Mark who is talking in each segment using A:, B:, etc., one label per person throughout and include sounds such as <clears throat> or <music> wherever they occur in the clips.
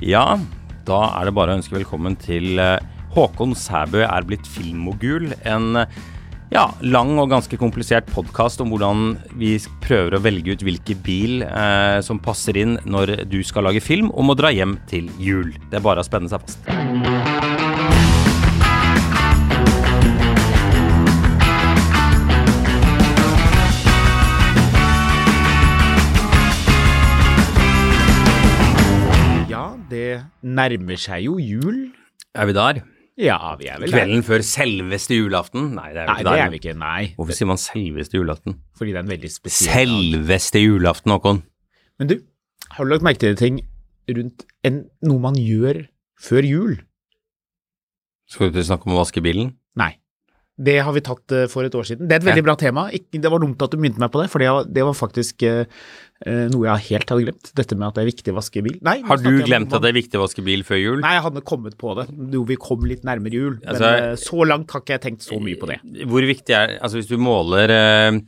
A: Ja, da er det bare å ønske velkommen til eh, Håkon Sæbø er blitt filmmogul. En eh, ja, lang og ganske komplisert podkast om hvordan vi s- prøver å velge ut hvilken bil eh, som passer inn når du skal lage film og må dra hjem til jul. Det er bare å spenne seg fast.
B: Ja, det nærmer seg jo jul.
A: Er vi der?
B: Ja, vi er vel
A: Kvelden før selveste julaften? Nei, det er vi
B: der. Nei,
A: ikke
B: det
A: der.
B: er vi ikke. Nei.
A: Hvorfor sier man selveste julaften?
B: Fordi det er en veldig spesiell dag.
A: Selveste julaften, Håkon.
B: Men du, har du lagt merke til ting rundt en, noe man gjør før jul?
A: Skal du snakke om å vaske bilen?
B: Nei. Det har vi tatt eh, for et år siden. Det er et veldig
A: Ja.
B: bra tema. Ikke, det var dumt at du begynte meg på det, for det, var- det var faktisk eh, eh, noe jeg helt hadde glemt. Dette med at det er viktig å vaske bil. Nei, nå
A: Har du
B: snakker jeg om
A: glemt
B: noe
A: at det er viktig å vaske bil før jul?
B: Nei, jeg hadde kommet på det. Jo, vi kom litt nærmere jul. Men
A: Altså-
B: eh, så langt har ikke jeg tenkt så mye på det.
A: Hvor viktig er Altså hvis du måler eh,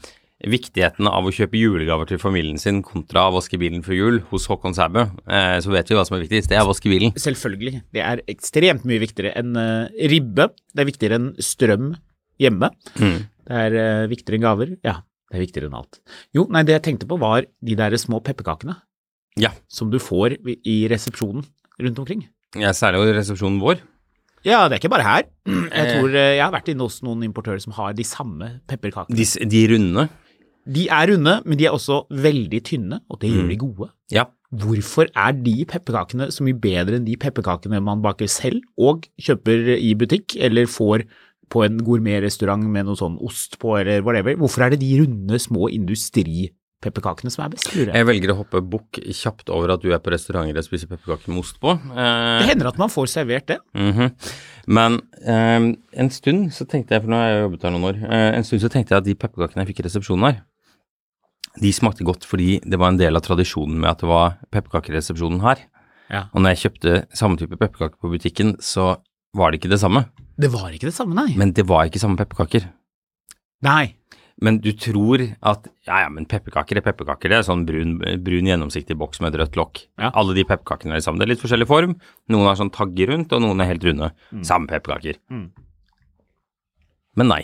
A: viktigheten av å kjøpe julegaver til familien sin kontra å vaske bilen før jul hos Håkon Sæbø, eh, så vet vi hva som er viktigst. Det er å vaske bilen.
B: Selvfølgelig. Det er ekstremt mye viktigere enn eh, ribbe. Det er viktigere enn strøm hjemme. Det er eh, viktigere enn gaver. Ja, det er viktigere enn alt. Jo, nei, det jeg tenkte på var de der små pepperkakene
A: Ja.
B: som du får i- i resepsjonen rundt omkring.
A: ja særlig i resepsjonen vår.
B: Ja, det er ikke bare her. <clears throat> Jeg
A: Eh.
B: tror eh, jeg har vært inne hos noen importører som har de samme pepperkakene.
A: De, s- de runde.
B: De er runde, men de er også veldig tynne, og det gjør de gode.
A: Ja.
B: Hvorfor er de pepperkakene så mye bedre enn de pepperkakene man baker selv og kjøper i butikk eller får på en gourmetrestaurant med noe sånn ost på eller whatever? Hvorfor er det de runde, små industripepperkakene som er best? lurer jeg?
A: Jeg velger å hoppe bukk kjapt over at du er på restauranter og spiser pepperkaker med ost på. Eh,
B: Det <laughs> hender at man får servert det.
A: Mhm. Men eh, en stund så tenkte jeg, for nå har jeg jobbet her noen år, eh, en stund så tenkte jeg at de pepperkakene jeg fikk i resepsjonen her, de smakte godt fordi det var en del av tradisjonen med at det var pepperkaker i resepsjonen her.
B: Ja.
A: Og når jeg kjøpte samme type pepperkaker på butikken, så var det ikke det samme.
B: Det var ikke det samme, nei.
A: Men det var ikke samme pepperkaker.
B: Nei.
A: Men du tror at ja, ja, men pepperkaker er pepperkaker. Det er sånn brun, brun gjennomsiktig boks med et rødt lokk.
B: Ja.
A: Alle de pepperkakene er sammen. Det er litt forskjellig form. Noen har sånn tagger rundt, og noen er helt runde. Samme pepperkaker.
B: Mm.
A: Men nei.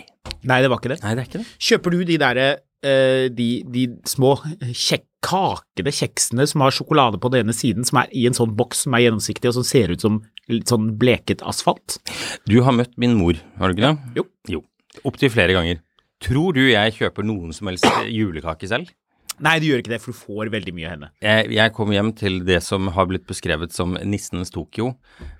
B: Nei, det var ikke det.
A: Nei, det er ikke det.
B: Kjøper du de der eh, de, de små kjekk, kakede kjeksene som har sjokolade på den ene siden, som er i en sånn boks som er gjennomsiktig og som ser ut som litt sånn bleket asfalt?
A: Du har møtt min mor, har du ikke det?
B: Jo.
A: Jo. Opptil flere ganger. Tror du jeg kjøper noen som helst julekake selv?
B: Nei, du gjør ikke det, for du får veldig mye av henne.
A: Jeg, jeg kom hjem til det som har blitt beskrevet som nissenes Tokyo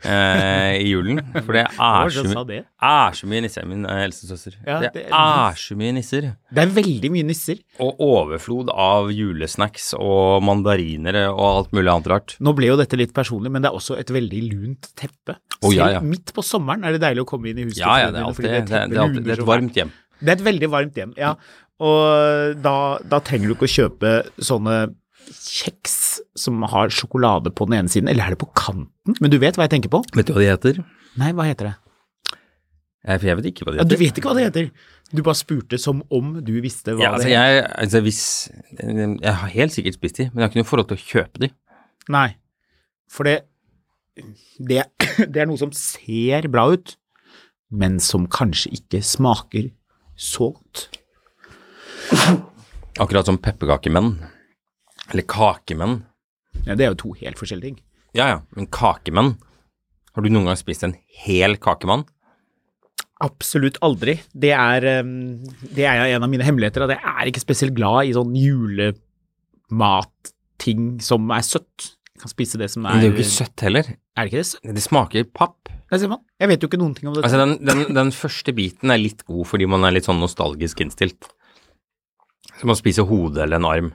A: eh, i julen. For det
B: <laughs> Hva var
A: er
B: det
A: så,
B: som sa
A: mye,
B: det?
A: er så mye nisser. Min eh, eldste søster.
B: Ja,
A: det
B: det-
A: er så mye nisser.
B: Det er veldig mye nisser.
A: Og overflod av julesnacks og mandarinere og alt mulig annet rart.
B: Nå ble jo dette litt personlig, men det er også et veldig lunt teppe.
A: Å, ja, ja.
B: Selv midt på sommeren er det deilig å komme inn i huset.
A: Ja, ja,
B: til
A: det er
B: venner,
A: alltid, det,
B: fordi
A: det,
B: teppet
A: er alltid,
B: luner
A: det er
B: så
A: et varmt hjem.
B: Det er et veldig varmt hjem, ja. Og da, da trenger du ikke å kjøpe sånne kjeks som har sjokolade på den ene siden, eller er det på kanten? Men du vet hva jeg tenker på?
A: Vet du hva de heter?
B: Nei, hva heter det?
A: Jeg, for jeg vet ikke hva de
B: Ja,
A: heter.
B: du vet ikke hva det heter. Du bare spurte som om du visste hva
A: Ja, altså,
B: det heter.
A: jeg, altså, hvis, jeg har helt sikkert spist de, men jeg har ikke noe forhold til å kjøpe de.
B: Nei, for det, det, <coughs> det er noe som ser bra ut, men som kanskje ikke smaker så godt.
A: Akkurat som pepperkakemenn. Eller kakemenn.
B: Ja, det er jo to helt forskjellige ting.
A: Ja ja, men kakemann. Har du noen gang spist en hel kakemann?
B: Absolutt aldri. Det er, um, det er en av mine hemmeligheter. At jeg er ikke spesielt glad i sånn julematting som er søtt. Jeg kan spise det som
A: Men
B: er
A: det er jo ikke søtt heller.
B: Er det ikke det søtt?
A: Det smaker papp.
B: Nei, ser man. Jeg vet jo ikke noen ting om det.
A: Altså, den, den, den første biten er litt god fordi man er litt sånn nostalgisk innstilt. Som å spise hodet eller en arm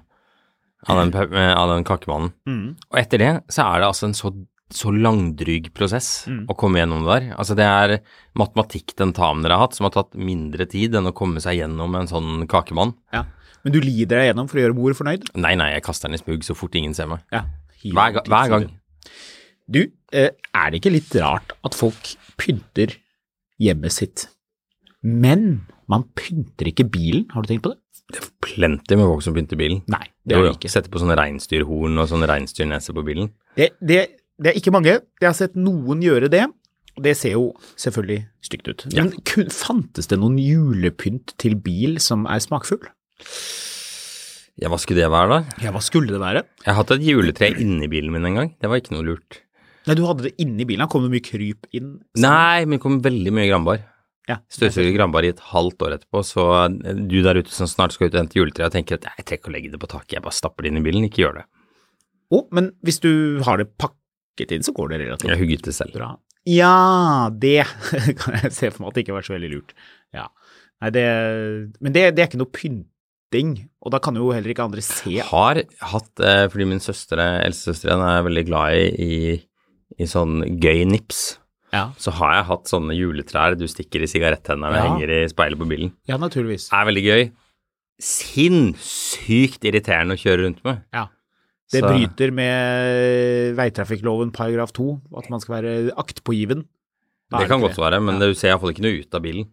A: av den, pe- eh, av den kakemannen.
B: Mm.
A: Og etter det så er det altså en så, så langdryg prosess å komme gjennom det der. Altså, det er matematikk tentaminer har hatt som har tatt mindre tid enn å komme seg gjennom en sånn kakemann.
B: Ja. Men du lider deg gjennom for å gjøre mor fornøyd?
A: Nei, nei, jeg kaster den i smug så fort ingen ser meg.
B: Ja.
A: Hver, ga- hver gang.
B: Du, eh, er det ikke litt rart at folk pynter hjemmet sitt? Men man pynter ikke bilen, har du tenkt på det?
A: Det er plenty med folk som pynter bilen.
B: Nei, det er det ikke.
A: Setter på sånne reinsdyrhorn og sånn reinsdyrnese på bilen.
B: Det, det, det er ikke mange. Jeg har sett noen gjøre det. og Det ser jo selvfølgelig stygt ut. Men kun, fantes det noen julepynt til bil som er smakfull?
A: Ja, hva skulle det være, da?
B: Ja, hva skulle det være?
A: Jeg har hatt et juletre inni bilen min en gang. Det var ikke noe lurt.
B: Nei, du hadde det inni bilen. Kom det mye kryp inn?
A: Nei, men det kom veldig mye granbar.
B: Ja.
A: Støvsuger granbar i et halvt år etterpå, så eh, du der ute som snart skal ut og hente juletre og tenker at "Nei, jeg trenger ikke å legge det på taket, jeg bare stapper det inn i bilen, ikke gjør det.
B: Å, men hvis du har det pakket inn, så går det relativt
A: Jeg hugget det selv.
B: bra. Ja, det <laughs> kan jeg se for meg at det ikke har vært så veldig lurt. Ja. Nei, det, men det, det er ikke noe pynting, og da kan jo heller ikke andre se.
A: Jeg har hatt, eh, fordi min søster, eldstesøster igjen, er veldig glad i, i, i sånn gøy nips,
B: Ja,
A: så har jeg hatt sånne juletrær du stikker i sigaretthendene og
B: Ja.
A: henger i speilet på bilen.
B: ja naturligvis.
A: Er veldig gøy. Sinnssykt irriterende å kjøre rundt med.
B: Ja. Det
A: Så-
B: bryter med veitrafikkloven paragraf to, at man skal være aktpågiven. Da er
A: Det kan
B: ikke
A: godt være, men du ser iallfall ikke noe ut av bilen.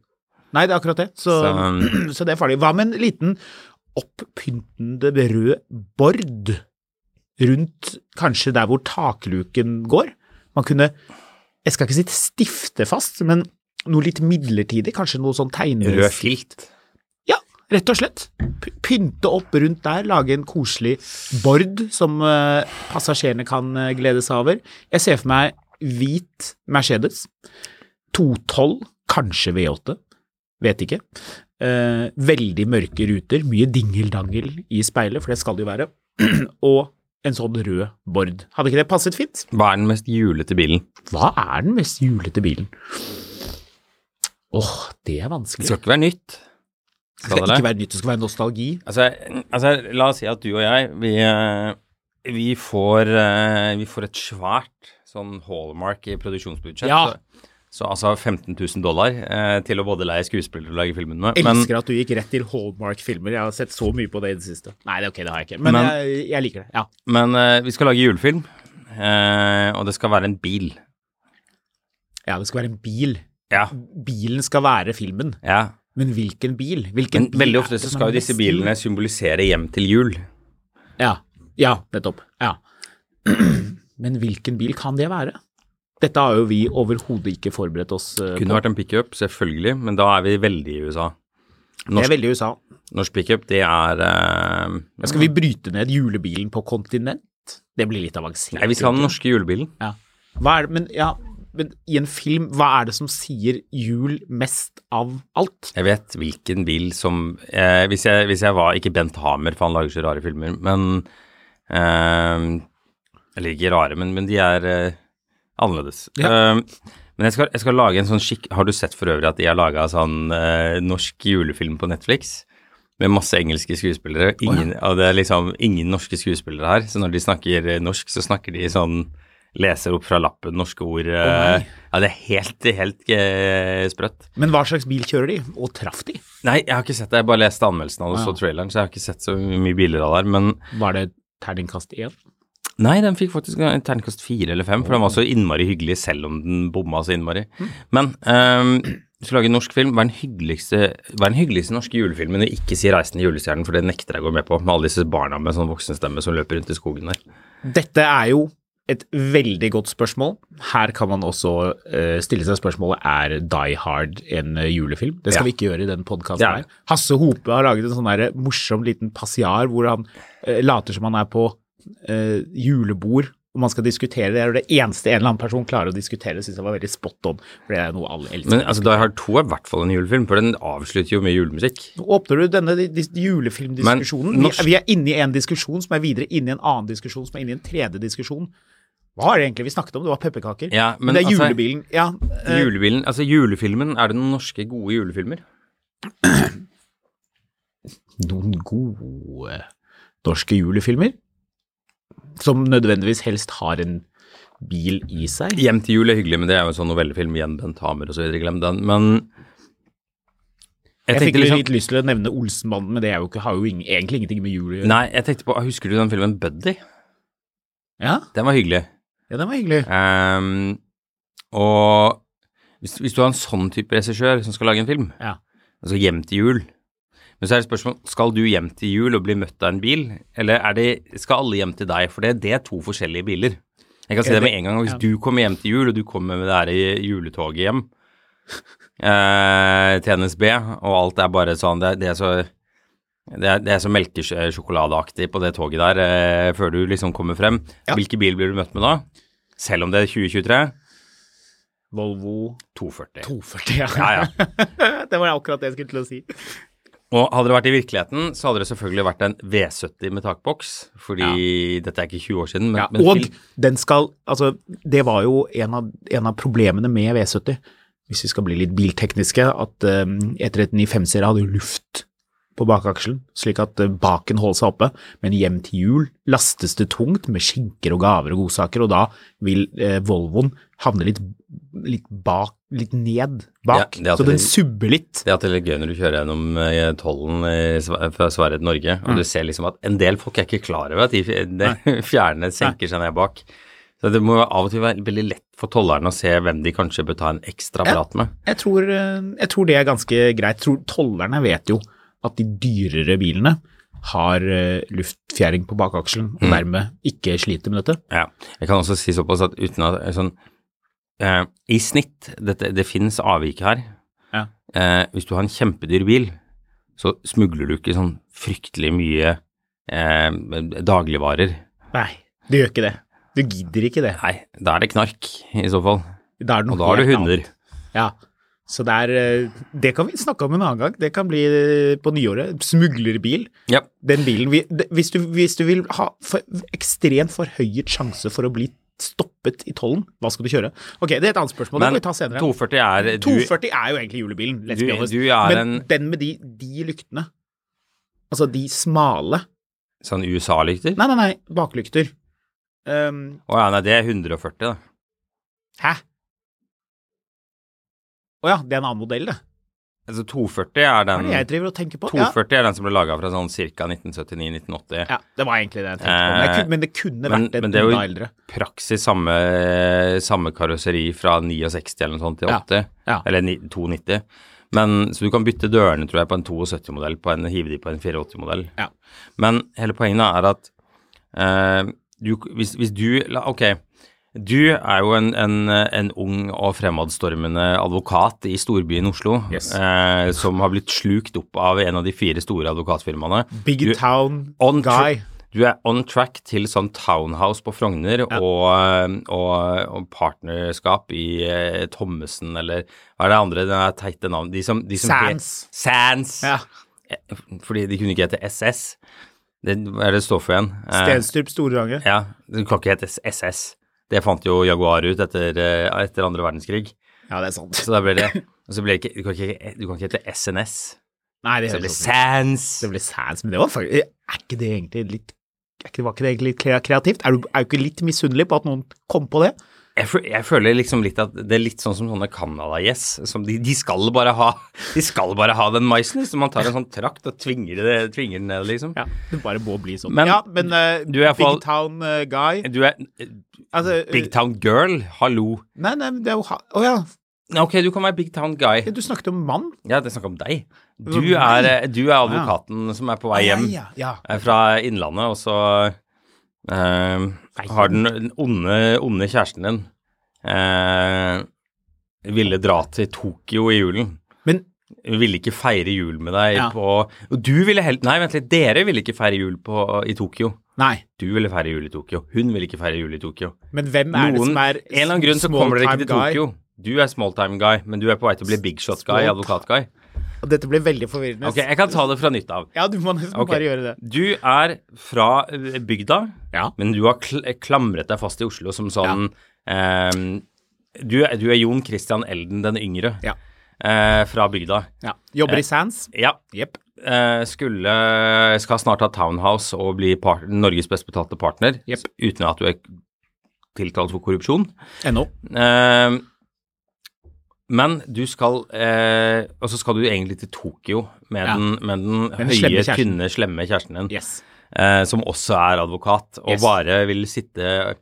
B: Nei, det er akkurat det. Så, <clears throat> så,
A: Så-
B: det er farlig. Hva med en liten opppyntende rød bord rundt kanskje der hvor takluken går? Man kunne, jeg skal ikke si stifte fast, men noe litt midlertidig, kanskje noe sånn tegne...
A: Rød filt.
B: Ja, rett og slett. P- Pynte opp rundt der, lage en koselig bord som eh, passasjerene kan eh, glede seg over. Jeg ser for meg hvit Mercedes, 212, kanskje V8, vet ikke. Eh, veldig mørke ruter, mye dingeldangel i speilet, for det skal det jo være. <clears throat> Og en sånn rød bord. Hadde ikke det passet fint?
A: Hva er den mest julete bilen?
B: Hva er den mest julete bilen? Åh, det er vanskelig.
A: Det skal ikke være nytt.
B: Det skal ikke være nytt, det skal være nostalgi.
A: Altså, altså, la oss si at du og jeg, vi, eh, vi, får, eh, vi får et svært sånn hallmark i produksjonsbudsjett.
B: Ja.
A: Så, så altså 15 000 dollar eh, til å både leie skuespillere og lage filmen med. Men
B: Elsker at du gikk rett til Hallmark-filmer. Jeg har sett så mye på det i det siste. Nei, det, ok, det har jeg ikke. Men,
A: Men-
B: jeg, jeg liker det. Ja.
A: men, eh, vi skal lage julefilm, eh, og det skal være en bil.
B: ja, det skal være en bil.
A: Ja.
B: Bilen skal være filmen.
A: ja.
B: Men hvilken bil? Hvilken
A: Men
B: bil
A: veldig
B: er
A: ofte
B: det
A: så
B: som
A: skal
B: er
A: jo disse
B: best?
A: bilene symbolisere hjem til jul.
B: Ja, ja nettopp. Ja. <clears throat> Men hvilken bil kan det være? Dette har jo vi overhodet ikke forberedt oss eh, på.
A: Kunne vært en pickup, selvfølgelig, men da er vi veldig i USA.
B: Det er veldig USA.
A: Norsk pickup, det er eh,
B: Ja, Skal vi bryte ned julebilen på kontinent? Det blir litt avansert.
A: Nei, vi skal ha den norske julebilen.
B: Ja. Hva er det, men, ja, men i en film, hva er det som sier jul mest av alt?
A: Jeg vet hvilken bil som eh, hvis, jeg, hvis jeg var Ikke Bent Hamer, for han lager så rare filmer, men eh, Eller ikke rare, men, men de er eh, annerledes. Eh, men jeg skal, jeg skal lage en sånn skikk... Har du sett for øvrig at de har laga sånn eh, norsk julefilm på Netflix? Med masse engelske skuespillere. Ingen, og det er liksom ingen norske skuespillere her. Så når de snakker eh, norsk, så snakker de sånn Leser opp fra lappen norske ord. eh, ja, det er helt, helt eh, sprøtt.
B: Men hva slags bil kjører de, og traff de?
A: Nei, jeg har ikke sett det. Jeg bare leste anmeldelsen av det og så traileren, så jeg har ikke sett så mye biler av det. Men
B: Var det terningkast én?
A: nei, den fikk faktisk en terningkast fire eller fem, for den var så innmari hyggelig selv om den bomma så innmari. Men ehm, hvis du lager en norsk film, hva er den hyggeligste, hva er den hyggeligste norske julefilmen du ikke sier 'Reisen til julestjernen', for det nekter jeg å gå med på, med alle disse barna med sånn voksenstemme som løper rundt i skogen der.
B: Dette er jo et veldig godt spørsmål. Her kan man også eh, stille seg spørsmålet er Die Hard en eh, julefilm. Det skal
A: Ja.
B: vi ikke gjøre i den podkasten
A: Det er det.
B: her. Hasse Hope har laget en sånn der morsom liten passiar hvor han eh, later som han er på eh, julebord og man skal diskutere det, og det eneste en eller annen person klarer å diskutere, syns jeg var veldig spot on. For det er noe alle elsker.
A: Men altså, Die Hard 2 er i hvert fall en julefilm, for den avslutter jo med julemusikk.
B: Nå åpner du denne di- dis- julefilmdiskusjonen.
A: Men norsk-
B: Vi, vi er inne i en diskusjon som er videre inne i en annen diskusjon som er inne i en tredje diskusjon. Hva er det egentlig vi snakket om? Det var pepperkaker.
A: Ja, men
B: det er
A: altså-
B: julebilen. Ja, eh,
A: Julebilen, altså julefilmen, er det noen norske gode julefilmer?
B: noen gode norske julefilmer som nødvendigvis helst har en bil i seg.
A: Hjem til jul er hyggelig, men det er jo en sånn novellefilm igjen, Bent Hamer og så videre, glem den. Men
B: Jeg,
A: tenkte
B: fikk
A: liksom-
B: litt lyst til å nevne Olsenbanden, men det er jo ikke, har jo ingen, egentlig ingenting med jul å gjøre.
A: Nei, jeg tenkte på, husker du den filmen Buddy?
B: Ja,
A: Den var hyggelig.
B: ja, den var hyggelig.
A: Ehm, og hvis, hvis du har en sånn type regissør som skal lage en film,
B: Ja.
A: altså hjem til jul Men så er det spørsmål, skal du hjem til jul og bli møtt av en bil, eller er det, skal alle hjem til deg? For det, det er to forskjellige biler. Jeg kan si
B: Er
A: det med
B: det-
A: en gang. og Hvis
B: ja.
A: du kommer hjem til jul, og du kommer med det her i juletoget hjem <laughs> eh, til NSB, og alt er bare sånn Det, er- det er så det er, det er så melkesjokoladeaktig på det toget der eh, før du liksom kommer frem.
B: Ja.
A: Hvilken bil blir du møtt med da? Selv om det er 2023?
B: Volvo
A: 240.
B: 240, ja.
A: Ja, ja.
B: <laughs> det var akkurat det jeg skulle til å si.
A: Og hadde det vært i virkeligheten, så hadde det selvfølgelig vært en V70 med takboks, fordi dette er ikke 20 år siden, men,
B: Ja,
A: men
B: og
A: til-
B: den skal Altså, det var jo en av, en av problemene med V70, hvis vi skal bli litt biltekniske, at eh, E395 serie hadde jo luft på bakakselen, slik at eh, baken holdt seg oppe. Men hjem til jul lastes det tungt med skinker og gaver og godsaker, og da vil eh, Volvoen havne litt, litt bak Litt ned bak,
A: Ja, det er at
B: så den
A: det-
B: subber litt.
A: Det at det er litt gøy når du kjører gjennom eh, tollen i Sve- fra Sverige til Norge, og du
B: Mm.
A: ser liksom at en del folk er ikke klar over at de fj- de <laughs> fjerne senker seg ned bak. Så det må av og til være veldig lett for tollerne å se hvem de kanskje bør ta en ekstra
B: Ja.
A: prat med.
B: Jeg tror, eh, jeg tror det er ganske greit. Jeg tror tollerne vet jo at de dyrere bilene har eh, luftfjæring på bakakselen,
A: Mm.
B: og dermed ikke sliter med dette.
A: Ja. Jeg kan også si såpass at uten at sånn, eh, I snitt, dette, det finnes avvik her.
B: Ja.
A: Eh, hvis du har en kjempedyr bil, så smugler du ikke sånn fryktelig mye eh, dagligvarer.
B: Nei, det gjør ikke det. Du gidder ikke det.
A: Nei, da er det knark i så fall.
B: Da er det noe
A: Og da har du
B: helt
A: hunder.
B: annet. Ja. Så det er eh, Det kan vi snakke om en annen gang. Det kan bli eh, på nyåret. Smuglerbil.
A: Ja.
B: Den bilen vi, det- hvis, du, hvis du vil ha for, ekstremt forhøyet sjanse for å bli stoppet i tollen, hva skal du kjøre? Ok, det er et annet spørsmål. det
A: Men
B: får vi ta senere.
A: 240 er du,
B: 240 er jo egentlig julebilen, let's
A: Du-
B: be honest.
A: du er
B: Men
A: en-
B: den med de, de lyktene, altså de smale
A: sånn USA-lykter.
B: Nei, nei, nei, baklykter. Ehm,
A: Å ja, nei, det er 140, da.
B: hæ? Å ja, det er en annen modell, det.
A: Altså 240 er
B: Hva er
A: den
B: det jeg driver og tenker på? Ja.
A: 240 er den som ble laga fra sånn ca. 1979-1980.
B: ja, det var egentlig det jeg tenkte på. Men, jeg,
A: Eh,
B: kunne- men det kunne
A: men-
B: vært et
A: men det er jo-
B: enda eldre.
A: praksis samme, samme karosseri fra 69 eller noe sånt til
B: Ja,
A: 80,
B: ja.
A: eller ni- 92. Men, så du kan bytte dørene, tror jeg, på en 72-modell, på en hive de på en 84-modell.
B: Ja.
A: Men hele poenget er at eh, du, hvis, hvis du la, Ok, du er jo en, en, en ung og fremadstormende advokat i storbyen Oslo,
B: Yes.
A: eh, som har blitt slukt opp av en av de fire store advokatfirmaene.
B: Big
A: Du-
B: Town
A: on tra-
B: Guy.
A: Du er on track til sånn townhouse på Frogner og, og, og partnerskap i eh, Thommessen eller hva er det andre den er teite navn de som, de som het-
B: Sands.
A: Sands.
B: Ja.
A: Fordi de kunne ikke hete SS. Det, hva er det det står for igjen? Eh,
B: Stenstrup Storange.
A: ja, du kan ikke hete SS. Det fant jo Jaguar ut etter, eh, etter andre verdenskrig.
B: Ja, det er sant.
A: Så da ble
B: <coughs>
A: det og så ble det ikke, du, kan ikke, du kan ikke hete SNS.
B: Nei, det
A: Så det ble
B: høres sånn ut.
A: Sands.
B: Det ble sæds, men det var faktisk Er ikke det egentlig litt er ikke, Var ikke det egentlig litt kre- kreativt? Er du, er du ikke litt misunnelig på at noen kom på det?
A: Jeg, fø- jeg føler liksom litt at det er litt sånn som sånne Canada-gjess. som De, de skal bare ha <laughs> De skal bare ha den maisen. liksom. man tar en sånn trakt og tvinger, det, tvinger den ned, liksom.
B: Det bare må bli sånn.
A: Men-
B: ja, men eh,
A: Du er i hvert fall-
B: Big Town eh, Guy
A: Du er eh,
B: altså, eh,
A: Big Town Girl, hallo.
B: Nei, nei, men det er jo ha- Å ja,
A: Nei, Ok, du kan være Big Town Guy.
B: du snakket om mann.
A: Ja, det er snakk om deg. Du
B: Det var
A: er,
B: meg.
A: eh, du er advokaten som er på vei hjem
B: Ja, ja, ja.
A: eh, fra Innlandet, og så eh, har den den onde, onde kjæresten din eh, ville dra til Tokyo i julen.
B: Men
A: ville ikke feire jul med deg
B: Ja.
A: på Og du ville helt Nei, vent litt. Dere ville ikke feire jul på, i Tokyo.
B: Nei.
A: Du ville feire jul i Tokyo. Hun ville ikke feire jul i Tokyo.
B: Men hvem er det som er
A: en eller annen grunn så
B: small
A: kommer dere ikke til
B: time guy?
A: Tokyo. Du er small time guy, men du er på vei til å bli big shot guy,
B: Small-
A: advokat guy.
B: Og Dette blir veldig forvirrende.
A: Ok, jeg kan ta det fra nytt av.
B: Ja, du må nesten
A: Ok.
B: bare gjøre det.
A: Du er fra eh, bygda,
B: Ja.
A: men du har kl eh, klamret deg fast i Oslo som sånn ehm, du, er- du er Jon Christian Elden den yngre
B: Ja.
A: eh, fra bygda.
B: ja.
A: Eh.
B: Jobber i Sands?
A: Ja.
B: Jepp.
A: eh, skulle skal snart ha townhouse og bli part Norges best betalte partner,
B: Jepp.
A: uten at du er tiltalt for korrupsjon.
B: NO.
A: Eh, men du skal eh, Og så skal du egentlig til Tokyo med
B: Ja.
A: den, med den
B: Den slemme
A: høye,
B: kjæresten.
A: tynne, slemme kjæresten din,
B: Yes.
A: eh, som også er advokat, og
B: Yes.
A: bare vil sitte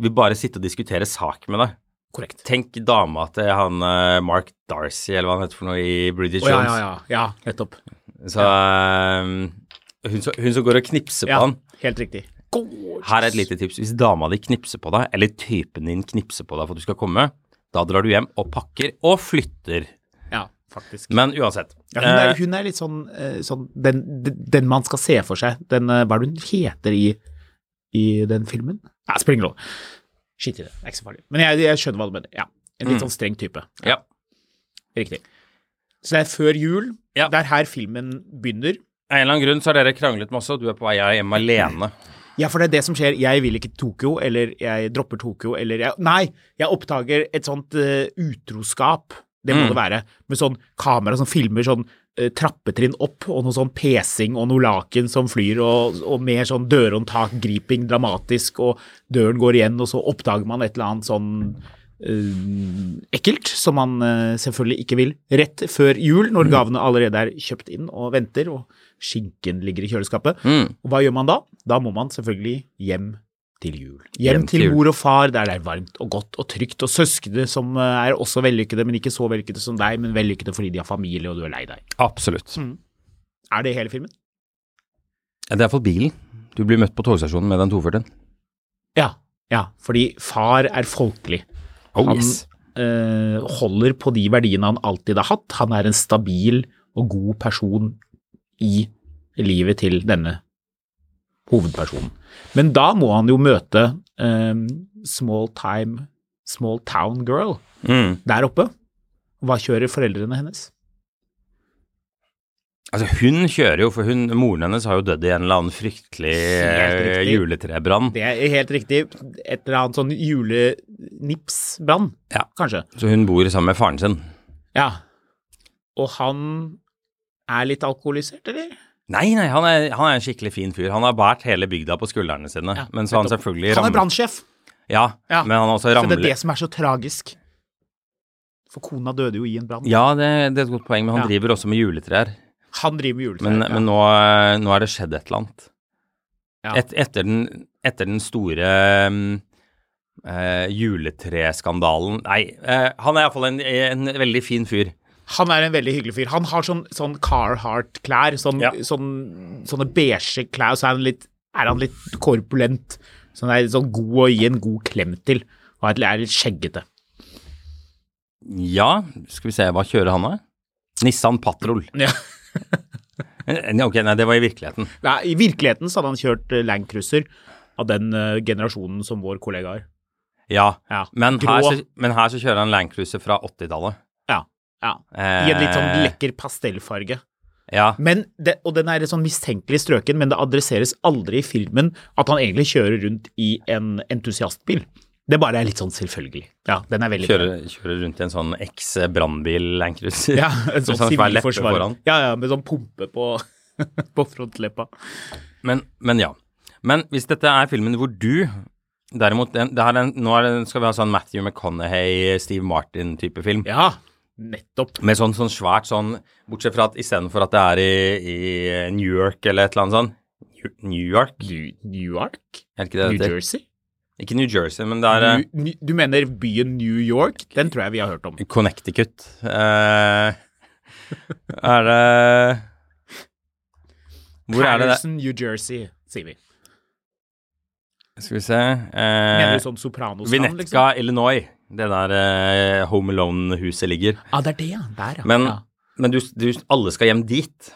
A: vil bare sitte og diskutere sak med deg.
B: Korrekt.
A: Tenk dama til han eh, Mark Darcy, eller hva han heter for noe i British
B: Å ja, ja,
A: Jones.
B: ja. Ja, nettopp.
A: Så, eh, hun, som- hun som går og knipser
B: Ja,
A: på han.
B: helt riktig.
A: Her er et lite tips. Hvis dama di knipser på deg, eller typen din knipser på deg for at du skal komme, da drar du hjem og pakker og flytter.
B: Ja, faktisk.
A: Men uansett.
B: Ja, hun, er,
A: eh,
B: hun er litt sånn, eh, sånn den, den man skal se for seg. Den, eh, hva er det hun heter i, i den filmen? Nei, spiller ingen rolle. Skitt i det, det er ikke så farlig. Men jeg, jeg skjønner hva du mener. Ja, En litt sånn streng type.
A: ja.
B: Riktig. Så det er før jul.
A: Ja.
B: Det er her filmen begynner.
A: Av en eller annen grunn så har dere kranglet masse, og du er på vei hjem alene.
B: Ja, for det er det som skjer. Jeg vil ikke til Tokyo, eller jeg dropper Tokyo, eller jeg Nei, jeg oppdager et sånt eh, utroskap. Det må det være. Med sånn kamera som filmer sånn eh, trappetrinn opp, og noe sånn pesing og noe laken som flyr, og, og mer sånn dørhåndtak-griping dramatisk, og døren går igjen, og så oppdager man et eller annet sånn eh, ekkelt, som man eh, selvfølgelig ikke vil, rett før jul, når gavene allerede er kjøpt inn og venter, og skinken ligger i kjøleskapet.
A: Mm.
B: Og hva gjør man da? Da må man selvfølgelig hjem til jul. Hjem,
A: Hjem til
B: til,
A: jul.
B: mor og far, der det er varmt og godt og trygt, og søskne som eh, er også vellykkede, men ikke så vellykkede som deg, men vellykkede fordi de har familie og du er lei deg.
A: Absolutt.
B: Er det hele filmen?
A: Det er iallfall bilen. Du blir møtt på togstasjonen med den 240-en.
B: Ja. Ja, fordi far er folkelig.
A: Oh,
B: Han- eh, holder på de verdiene han alltid har hatt. Han er en stabil og god person i livet til denne hovedpersonen. Men da må han jo møte eh, small time, small town girl
A: Mm.
B: der oppe. Hva kjører foreldrene hennes?
A: Altså, hun kjører jo, for hun, moren hennes har jo dødd i en eller annen fryktelig
B: Helt
A: eh,
B: riktig.
A: juletrebrann.
B: Det er helt riktig. Et eller annet sånn julenipsbrann,
A: Ja.
B: kanskje.
A: Så hun bor sammen med faren sin.
B: Ja. Og han er litt alkoholisert, eller?
A: Nei, nei, han er, han er en skikkelig fin fyr. Han har båret hele bygda på skuldrene sine.
B: Ja,
A: men så han
B: nettopp.
A: selvfølgelig
B: Han er
A: ramler
B: brannsjef.
A: ja,
B: Ja,
A: men han har også
B: Så det
A: ramler
B: er det som er så tragisk. For kona døde jo i en brann.
A: Ja, det, det er et godt poeng, men han
B: Ja.
A: driver også med juletrær.
B: Han driver med juletrær.
A: Men,
B: ja.
A: men nå, nå er det skjedd et eller annet.
B: Ja.
A: Et, etter, den, etter den store mm, eh, juletreskandalen Nei, eh, han er iallfall en, en veldig fin fyr.
B: Han er en veldig hyggelig fyr. Han har sånn, sånn Carhartt-klær, sånn,
A: Ja.
B: sånn, sånne beige klær, og så er han litt, er han litt korpulent. Så han er sånn god å gi en god klem til, og er litt- er litt skjeggete.
A: Ja, skal vi se, hva kjører han av? Nissan Patrol. <laughs>
B: Ja.
A: Eh, Ok, nei, det var i virkeligheten.
B: <laughs> Nei, I virkeligheten så hadde han kjørt eh, Land Cruiser av den eh, generasjonen som vår kollega har.
A: Ja.
B: Ja.
A: Men, her
B: Grå.
A: så, men her så kjører han Land Cruiser fra 80-tallet.
B: Ja. ja. I en litt sånn
A: Eh.
B: lekker pastellfarge.
A: Ja.
B: Men det, og den er litt sånn mistenkelig strøken, men det adresseres aldri i filmen at han egentlig kjører rundt i en entusiastbil. Det bare er litt sånn selvfølgelig. Ja, den er veldig
A: Kjører, kjører rundt i en sånn eks-brannbil Land Cruiser.
B: Ja, en
A: Med
B: sånn
A: svær leppe
B: sivilforsvar.
A: foran.
B: Ja, ja, med sånn pumpe på, <laughs> på frontleppa.
A: <laughs> Men, men ja. Men hvis dette er filmen hvor du Derimot, den, det her er en, nå er det, skal vi ha sånn Matthew McConaughey, Steve Martin-type film.
B: Ja, nettopp.
A: Med sånn, sånn svært sånn Bortsett fra at istedenfor at det er i, i New York eller et eller annet sånn New- New York?
B: New York?
A: Er det ikke det
B: New
A: det heter?
B: Jersey?
A: Ikke New Jersey, men det er eh,
B: New, New- du mener byen New York? Den tror jeg vi har hørt om.
A: Connecticut. Eh, er det Hvor er det det
B: Patterson, New Jersey, sier vi.
A: Skal vi se eh,
B: Mener du sånn Sopranos-land, liksom?
A: Vinetka, Illinois. Det der eh, Home Alone-huset ligger.
B: Ja, ah, det er det, ja. Der, ja.
A: Men
B: ja.
A: Men du, du, alle skal hjem dit.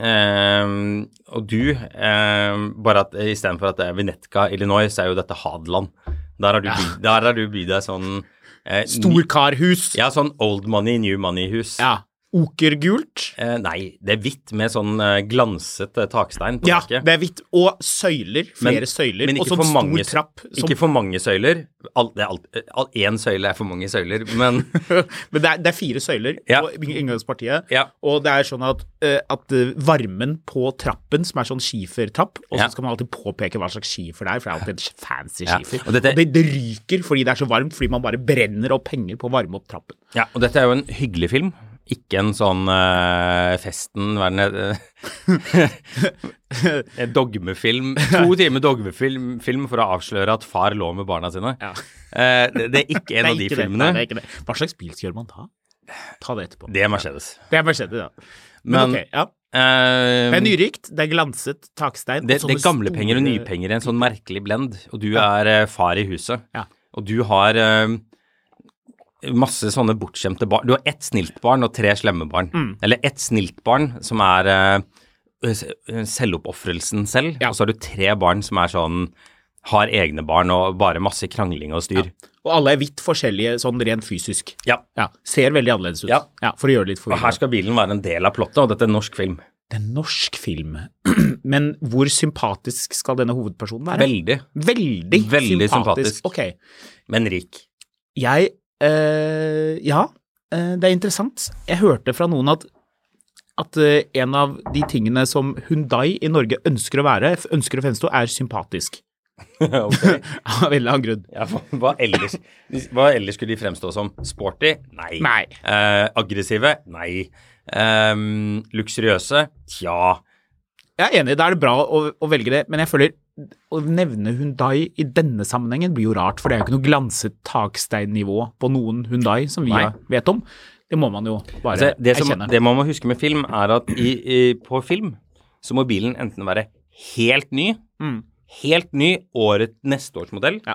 A: Ehm, og du ehm, Bare at istedenfor at det er Vinetka, Illinois, så er jo dette Hadeland. Der har du, by- der har du bygd deg sånn eh, ny-
B: Storkarhus.
A: Ja, sånn old money, new money-hus.
B: Ja. Okergult.
A: Eh, nei, det er hvitt med sånn eh, glansete takstein. på
B: Ja,
A: taket.
B: det er hvitt. Og søyler. Flere
A: Men-
B: søyler.
A: men
B: Og
A: ikke
B: sånn
A: for
B: stor
A: mange sø-
B: trapp. Som,
A: Ikke for mange søyler. Alt, det er alt, all, én søyle er for mange søyler,
B: <laughs>
A: men
B: men det er, det er fire søyler
A: Ja.
B: på inngangspartiet.
A: Ja.
B: Og det er sånn at, eh, at eh, varmen på trappen, som er sånn skifertrapp Og så
A: Ja.
B: skal man alltid påpeke hva slags skifer det er, for det er alltid en fancy
A: Ja,
B: skifer.
A: og dette-
B: Og det, det ryker fordi det er så varmt, fordi man bare brenner opp penger på å varme opp trappen.
A: Ja, og dette er jo en hyggelig film. Ikke en sånn eh, festen verden
B: <laughs>
A: En dogmefilm. To timer dogmefilm film for å avsløre at far lå med barna sine.
B: Ja.
A: Eh, det, det er ikke en
B: Det er
A: av de
B: ikke det.
A: filmene.
B: Nei, det er ikke det. Hva slags bil kjører man da? Ta det etterpå.
A: det er Mercedes.
B: Det er Mercedes, ja. Men,
A: Men
B: ok, ja.
A: eh,
B: Det er nyrikt, det er glanset takstein.
A: det,
B: og sånne
A: det er gamle penger og
B: Altså, store-
A: nye penger i en sånn merkelig blend. Og du er eh, far i huset.
B: Ja.
A: Og du har eh, masse sånne bortskjemte barn. Du har ett snilt barn og tre slemme barn. Eller ett snilt barn som er eh, s- selvoppofrelsen selv,
B: Ja.
A: og så har du tre barn som er sånn har egne barn og bare masse krangling og styr.
B: Og alle er vidt forskjellige sånn rent fysisk.
A: Ja.
B: Ja, Ser veldig annerledes ut.
A: Ja.
B: For å gjøre det litt
A: Og her
B: forvirrende.
A: skal bilen være en del av plottet, og dette er en norsk film.
B: Det er en norsk film, <clears throat> men hvor sympatisk skal denne hovedpersonen være?
A: Veldig.
B: Veldig,
A: Veldig sympatisk.
B: Ok.
A: Men rik. <laughs>
B: Jeg eh, Ja, eh, det er interessant. Jeg hørte fra noen at at eh, en av de tingene som Hundai i Norge ønsker å være, f- ønsker å fremstå, er sympatisk. <laughs>
A: Ok.
B: Av en eller annen grunn.
A: Ja, hva, hva, ellers, hva ellers skulle de fremstå som? Sporty? Nei.
B: Nei.
A: Eh, aggressive? Nei. Ehm, luksuriøse? Tja.
B: Jeg er enig, da er det bra å, å velge det, men jeg føler å nevne Hundai i denne sammenhengen blir jo rart, for det er jo ikke noe glanset taksteinnivå på noen Hundai som vi
A: Nei.
B: har- vet om. Det må man jo bare
A: Altså, det, som,
B: erkjenne.
A: det man må huske med film, er at i, i, på film så må bilen enten være helt ny,
B: Mm.
A: helt ny året, neste års modell,
B: Ja.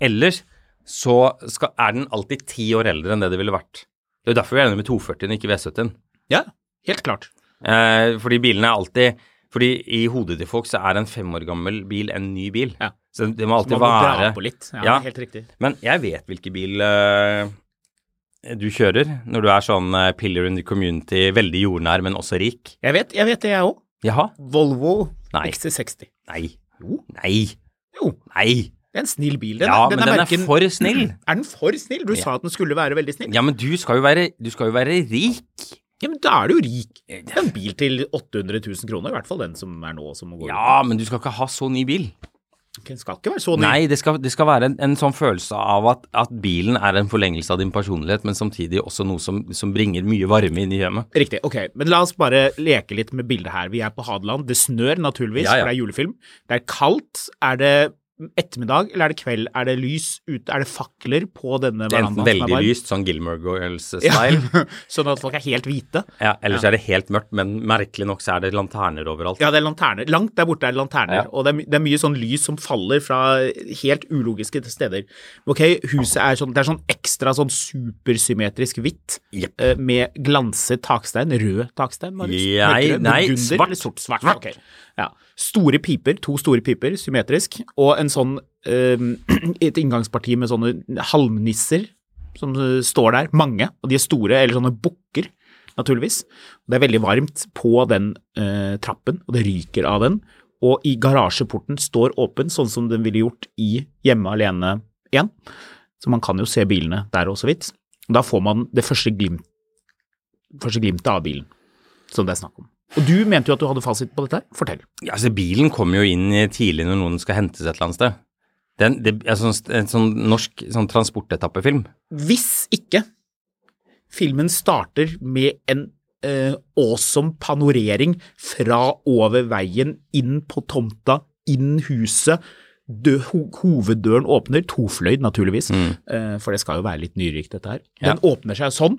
A: ellers så skal, er den alltid ti år eldre enn det det ville vært. Det er jo derfor vi er enige med 240-en, ikke V70-en.
B: Ja, helt klart.
A: Eh, fordi bilene er alltid Fordi i hodet til folk så er en fem år gammel bil en ny bil.
B: Ja.
A: Så det må alltid
B: Man må dra
A: være
B: på litt. Ja,
A: Ja.
B: Helt riktig.
A: Men jeg vet hvilken bil eh, du kjører når du er sånn eh, pillar in the community, veldig jordnær, men også rik.
B: Jeg vet, jeg vet det, jeg òg.
A: Jaha?
B: Volvo
A: Nei.
B: XC60.
A: Nei.
B: Jo.
A: Nei.
B: Jo,
A: Nei.
B: det er en snill bil. Den,
A: Ja,
B: er-
A: men den er
B: hverken-
A: for snill.
B: Er den for snill? Du sa at den skulle være veldig snill.
A: Ja, men du skal jo være, du skal jo være rik.
B: Ja, men da er du jo rik. Det er en bil til 800 000 kroner, i hvert fall den som er nå, som går
A: Ja, men du skal ikke ha så ny bil.
B: Den skal ikke være så ny.
A: Nei, det skal, det skal være en, en sånn følelse av at, at bilen er en forlengelse av din personlighet, men samtidig også noe som, som bringer mye varme inn i hjemmet.
B: Riktig. Ok, men la oss bare leke litt med bildet her. Vi er på Hadeland. Det snør naturligvis,
A: Ja, ja.
B: for det er julefilm. Det er kaldt. Er det ettermiddag, eller er det kveld? Er det lys ute? Er det fakler på denne
A: Det er enten
B: verandaen?
A: veldig lyst, sånn Gilmore Girls-style, <laughs>
B: lyst. <laughs> sånn at folk er helt hvite.
A: ja, eller så er det helt mørkt, men merkelig nok så er det lanterner overalt.
B: Ja, det er lanterner. Langt der borte er det lanterner,
A: Ja.
B: og det er, my- det er mye sånn lys som faller fra helt ulogiske steder. Ok, huset er sånn, det er sånn ekstra sånn supersymmetrisk hvitt,
A: Jepp.
B: eh, med glanset takstein, rød takstein, Marius?
A: Jeg-
B: Mørkerød,
A: nei,
B: burgunder,
A: svart.
B: eller Sort, svart.
A: Svart.
B: ok. Ja. Store piper, to store piper, symmetrisk, og en sånn, eh, <clears throat> et inngangsparti med sånne halmnisser som eh, står der, mange, og de er store, eller sånne bukker, naturligvis. Det er veldig varmt på den eh, trappen, og det ryker av den. Og i garasjeporten står åpen, sånn som den ville gjort i Hjemme alene 1. Så man kan jo se bilene der også vidt. Da får man det første, glimt, første glimtet av bilen som det er snakk om. Og du mente jo at du hadde fasit på dette her. Fortell.
A: Ja, altså Bilen kommer jo inn i- tidlig når noen skal hentes et eller annet sted. Det er en, det er sånn, en sånn norsk sånn transportetappefilm.
B: Hvis ikke filmen starter med en eh, awesome panorering fra over veien, inn på tomta, inn huset, dø, ho hoveddøren åpner, tofløyd naturligvis, eh, for det skal jo være litt nyrikt dette her. Den åpner seg sånn,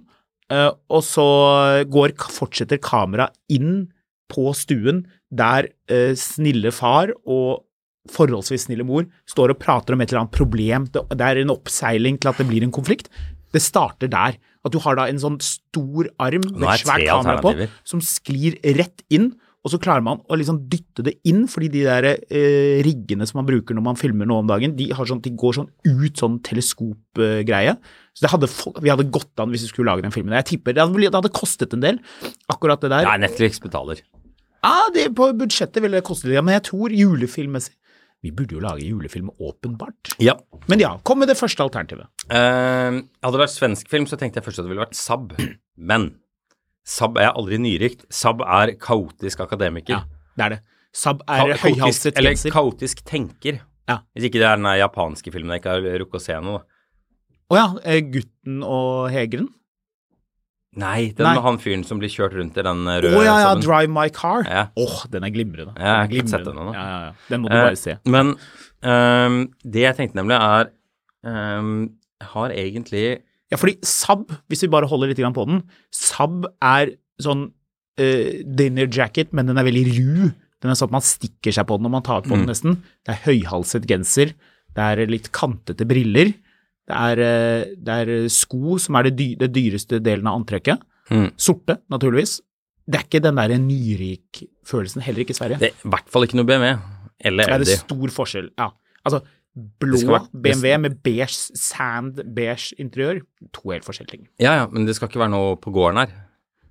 B: eh, og så går, fortsetter kamera inn på stuen der eh, snille far og forholdsvis snille mor står og prater om et eller annet problem, det det er en oppseiling til at det blir en konflikt. Det starter der. At du har da en sånn stor arm med
A: Nå er
B: et svært
A: tre
B: kamera på,
A: alternativer.
B: som sklir rett inn. Og så klarer man å liksom dytte det inn, fordi de der eh, riggene som man bruker når man filmer nå om dagen, de, har sånn, de går sånn ut sånn teleskopgreie. Så det hadde, fol- vi hadde gått an hvis vi skulle lage den filmen. Jeg tipper det hadde, blitt- det hadde kostet en del, akkurat det der.
A: Nei, Netflix betaler.
B: Ja, det, på budsjettet ville det koste litt, ja, men jeg tror julefilmmessig Vi burde jo lage julefilm, åpenbart.
A: Ja.
B: Men ja, kom med det første alternativet.
A: Eh, hadde det vært svensk film, så tenkte jeg først at det ville vært Saab. Men Saab er aldri nyrikt. Saab er kaotisk akademiker.
B: Ja, det er det. Sab
A: Ka-
B: er
A: kaotisk,
B: høyhalset
A: eller
B: genser.
A: kaotisk tenker.
B: Ja.
A: Hvis ikke det er den der japanske filmen jeg ikke har rukket å se ennå. da.
B: Å ja, eh, gutten og hegeren?
A: Nei, den
B: Nei.
A: med han fyren som blir kjørt rundt i den eh,
B: Å
A: røde
B: ja, ja,
A: Saaben.
B: Drive My Car. Åh,
A: Ja.
B: den er glimrende.
A: Jeg har ikke sett
B: Glimrende.
A: den ennå.
B: Ja, ja, ja. Den må du bare se.
A: Eh, Men ehm, det jeg tenkte nemlig er ehm, Jeg har egentlig
B: Ja, fordi Sab, hvis vi bare holder litt grann på den, Sab er sånn eh, dinner jacket, men den er veldig ru. Den er sånn at man stikker seg på den når man tar på
A: Mm.
B: den nesten. Det er høyhalset genser, det er litt kantete briller, det er, eh, det er sko som er det, dy det dyreste delen av antrekket.
A: Mm.
B: Sorte, naturligvis. Det er ikke den der nyrik-følelsen, heller ikke i Sverige.
A: Det er i hvert fall ikke noe BMW eller
B: Ja, det
A: Audi.
B: er stor forskjell. Ja. Altså, blå
A: Det skal være-
B: BMW med beige sand, beige interiør, to helt forskjellige ting.
A: Ja, ja, men det skal ikke være noe på gården her.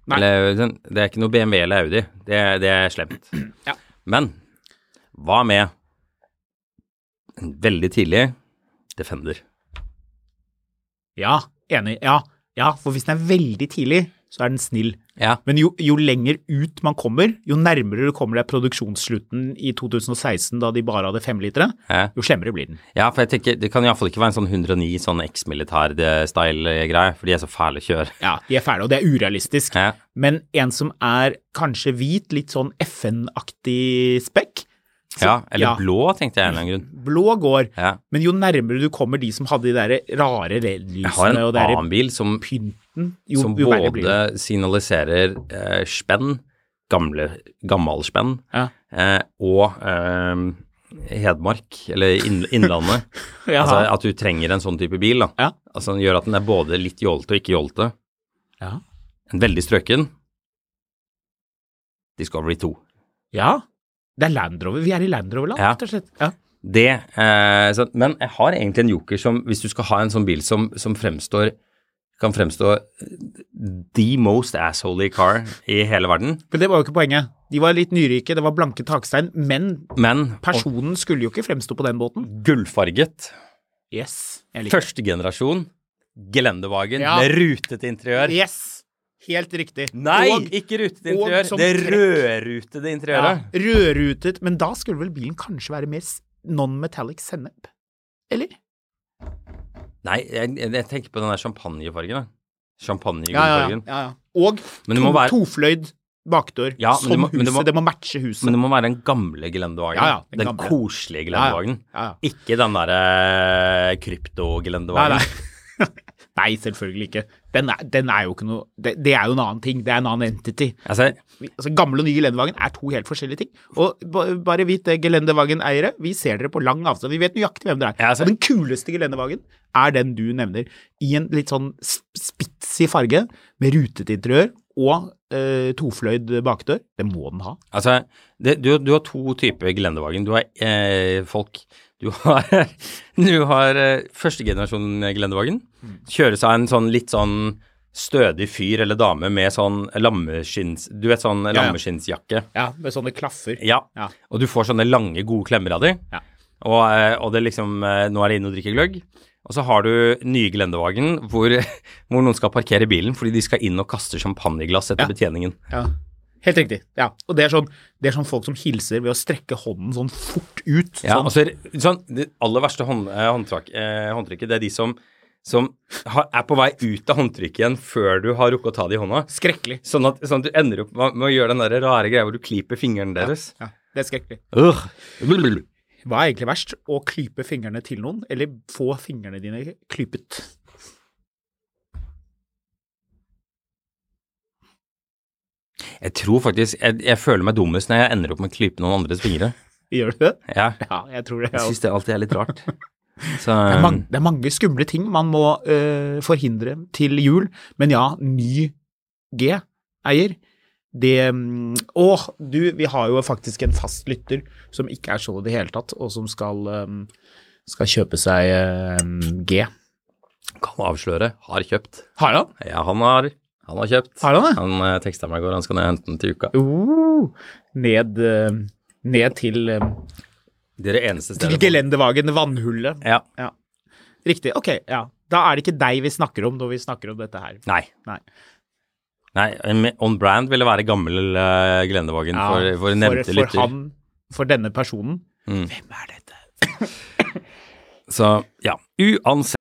B: Nei.
A: Eller, den- det er ikke noe BMW eller Audi. Det, er- det er slemt.
B: Ja.
A: Men hva med en veldig tidlig Defender?
B: Ja, enig. Ja, ja, for hvis den er veldig tidlig, så er den snill.
A: Ja.
B: Men jo, jo lenger ut man kommer, jo nærmere du kommer deg produksjonsslutten i 2016, da de bare hadde femlitere,
A: Ja.
B: jo slemmere blir den.
A: ja, for jeg tenker det kan iallfall ikke være en sånn 109 sånn eks-militær-style-greie, for de er så fæle å kjøre.
B: Ja, de er fæle, og det er urealistisk.
A: Ja.
B: Men en som er kanskje hvit, litt sånn FN-aktig spekk,
A: ja, eller
B: ja.
A: blå, tenkte jeg av en eller annen grunn.
B: blå går.
A: Ja.
B: Men jo nærmere du kommer de som hadde de der rare
A: Jeg har en
B: LED-lysene og det der
A: annen bil som
B: pynten, jo,
A: som
B: jo verre blir det.
A: både signaliserer eh, spenn, gamle, gammel spenn,
B: Ja.
A: eh, og eh, Hedmark, eller inn, Innlandet. altså
B: <laughs> Jaha.
A: at du trenger en sånn type bil. da.
B: Ja.
A: Altså Den gjør at den er både litt jålete og ikke jålete.
B: Ja.
A: En veldig strøken. Discovery 2.
B: ja. Det er Land Rover. Vi er i Land Rover-land,
A: Ja.
B: rett og slett. Ja.
A: Det, eh, så, men jeg har egentlig en joker som, hvis du skal ha en sånn bil som, som fremstår, kan fremstå eh, the most asshole car i hele verden,
B: Men det var jo ikke poenget. De var litt nyrike, det var blanke takstein, men
A: men
B: personen skulle jo ikke fremstå på den båten.
A: gullfarget,
B: Yes. Jeg liker det.
A: første generasjon, gelendevagen
B: Ja.
A: med rutete interiør.
B: Yes. Helt riktig.
A: Nei,
B: Og-
A: ikke rutete
B: og
A: interiør,
B: som
A: det
B: trekk.
A: rødrutede
B: ja,
A: interiøret.
B: rødrutet. Men da skulle vel bilen kanskje være mer s- non-metallic sennep? Eller?
A: Nei, jeg, jeg tenker på den der champagnefargen, da.
B: Ja, ja, ja.
A: Champagnegullfargen.
B: ja, ja. Og
A: Men det må
B: to-
A: være-
B: tofløyd bakdør.
A: Ja, men
B: som
A: det må-
B: huset.
A: men det
B: det,
A: må-
B: må, matche huset.
A: Men det må være den gamle gelendevagen.
B: Ja, ja, den
A: den
B: gamle.
A: koselige
B: Ja, ja.
A: gelendevagen.
B: Ja, ja.
A: Ikke den eh, derre
B: Nei,
A: krypto-gelendevagen.
B: nei. <laughs> nei, selvfølgelig ikke. Den er, den er jo ikke noe det, det er jo en annen ting. Det er en annen entity.
A: Altså,
B: Vi- Altså, Gamle og nye Gelendevagen er to helt forskjellige ting. Og ba- bare vit det, Gelendevagen-eiere, vi ser dere på lang avstand. Vi vet nøyaktig hvem dere er.
A: Ja, altså-
B: Og den kuleste Gelendevagen er den du nevner, i en litt sånn sp- spitsig farge, med rutete interiør og eh, tofløyd bakdør. Det må den ha.
A: altså det, du, du har to typer gelendevagen. Du har eh, folk Du har, <laughs> du har eh, førstegenerasjon gelendevagen.
B: Mm.
A: Kjøres av en sånn litt sånn stødig fyr eller dame med sånn lammeskinns... Du vet sånn
B: ja.
A: lammeskinnsjakke.
B: Ja, Med sånne klaffer.
A: Ja.
B: Ja.
A: Og du får sånne lange, gode klemmer av de.
B: Ja.
A: Og, eh, og det liksom eh, Nå er det inn og drikke gløgg. Og så har du nye Gelendevagen hvor, <laughs> hvor noen skal parkere bilen fordi de skal inn og kaste champagneglass etter betjeningen.
B: Ja. Helt riktig. ja. Og det er, sånn, det er sånn folk som hilser ved å strekke hånden sånn fort ut.
A: Ja,
B: sånn.
A: og så er det- sånn, Det aller verste hånd, eh, håndtrak, eh, håndtrykket, det er de som, som har, er på vei ut av håndtrykket igjen før du har rukket å ta det i hånda.
B: Skrekkelig.
A: Sånn at, sånn at du ender opp med med å gjøre den der rare greia hvor du klyper fingeren deres.
B: Ja, det er skrekkelig.
A: Ugh. Blablabla.
B: Hva er egentlig verst? Å klype fingrene til noen, eller få fingrene dine klypet?
A: Jeg tror faktisk jeg, jeg føler meg dummest når jeg ender opp med å klype noen andres fingre.
B: Gjør du det?
A: Ja.
B: Ja, jeg tror det.
A: <laughs> Jeg syns det alltid er litt rart. Så,
B: Det er, mange, det er mange skumle ting man må eh, forhindre til jul, men ja, ny G-eier. Det mm, Åh, du, vi har jo faktisk en fast lytter som ikke er så i det hele tatt, og som skal, eh, skal kjøpe seg eh, G.
A: um, kan avsløre, har kjøpt.
B: Har han?
A: Ja, han har, han har kjøpt.
B: Har han det?
A: Han eh, teksta meg i går, han skal ned og hente den til uka.
B: Uh, ned, eh, ned til, eh,
A: Det er det eneste
B: til
A: stedet. på-
B: gelendevagen, vannhullet.
A: Ja.
B: Ja. Riktig. Ok, ja. Da er det ikke deg vi snakker om når vi snakker om dette her.
A: Nei.
B: Nei.
A: Nei, em, On brand ville være gammel uh, Glendevagen
B: Ja,
A: for, for nevnte
B: for,
A: lytter.
B: for han, for denne personen.
A: Mm.
B: Hvem er dette?
A: Så ja, uansett.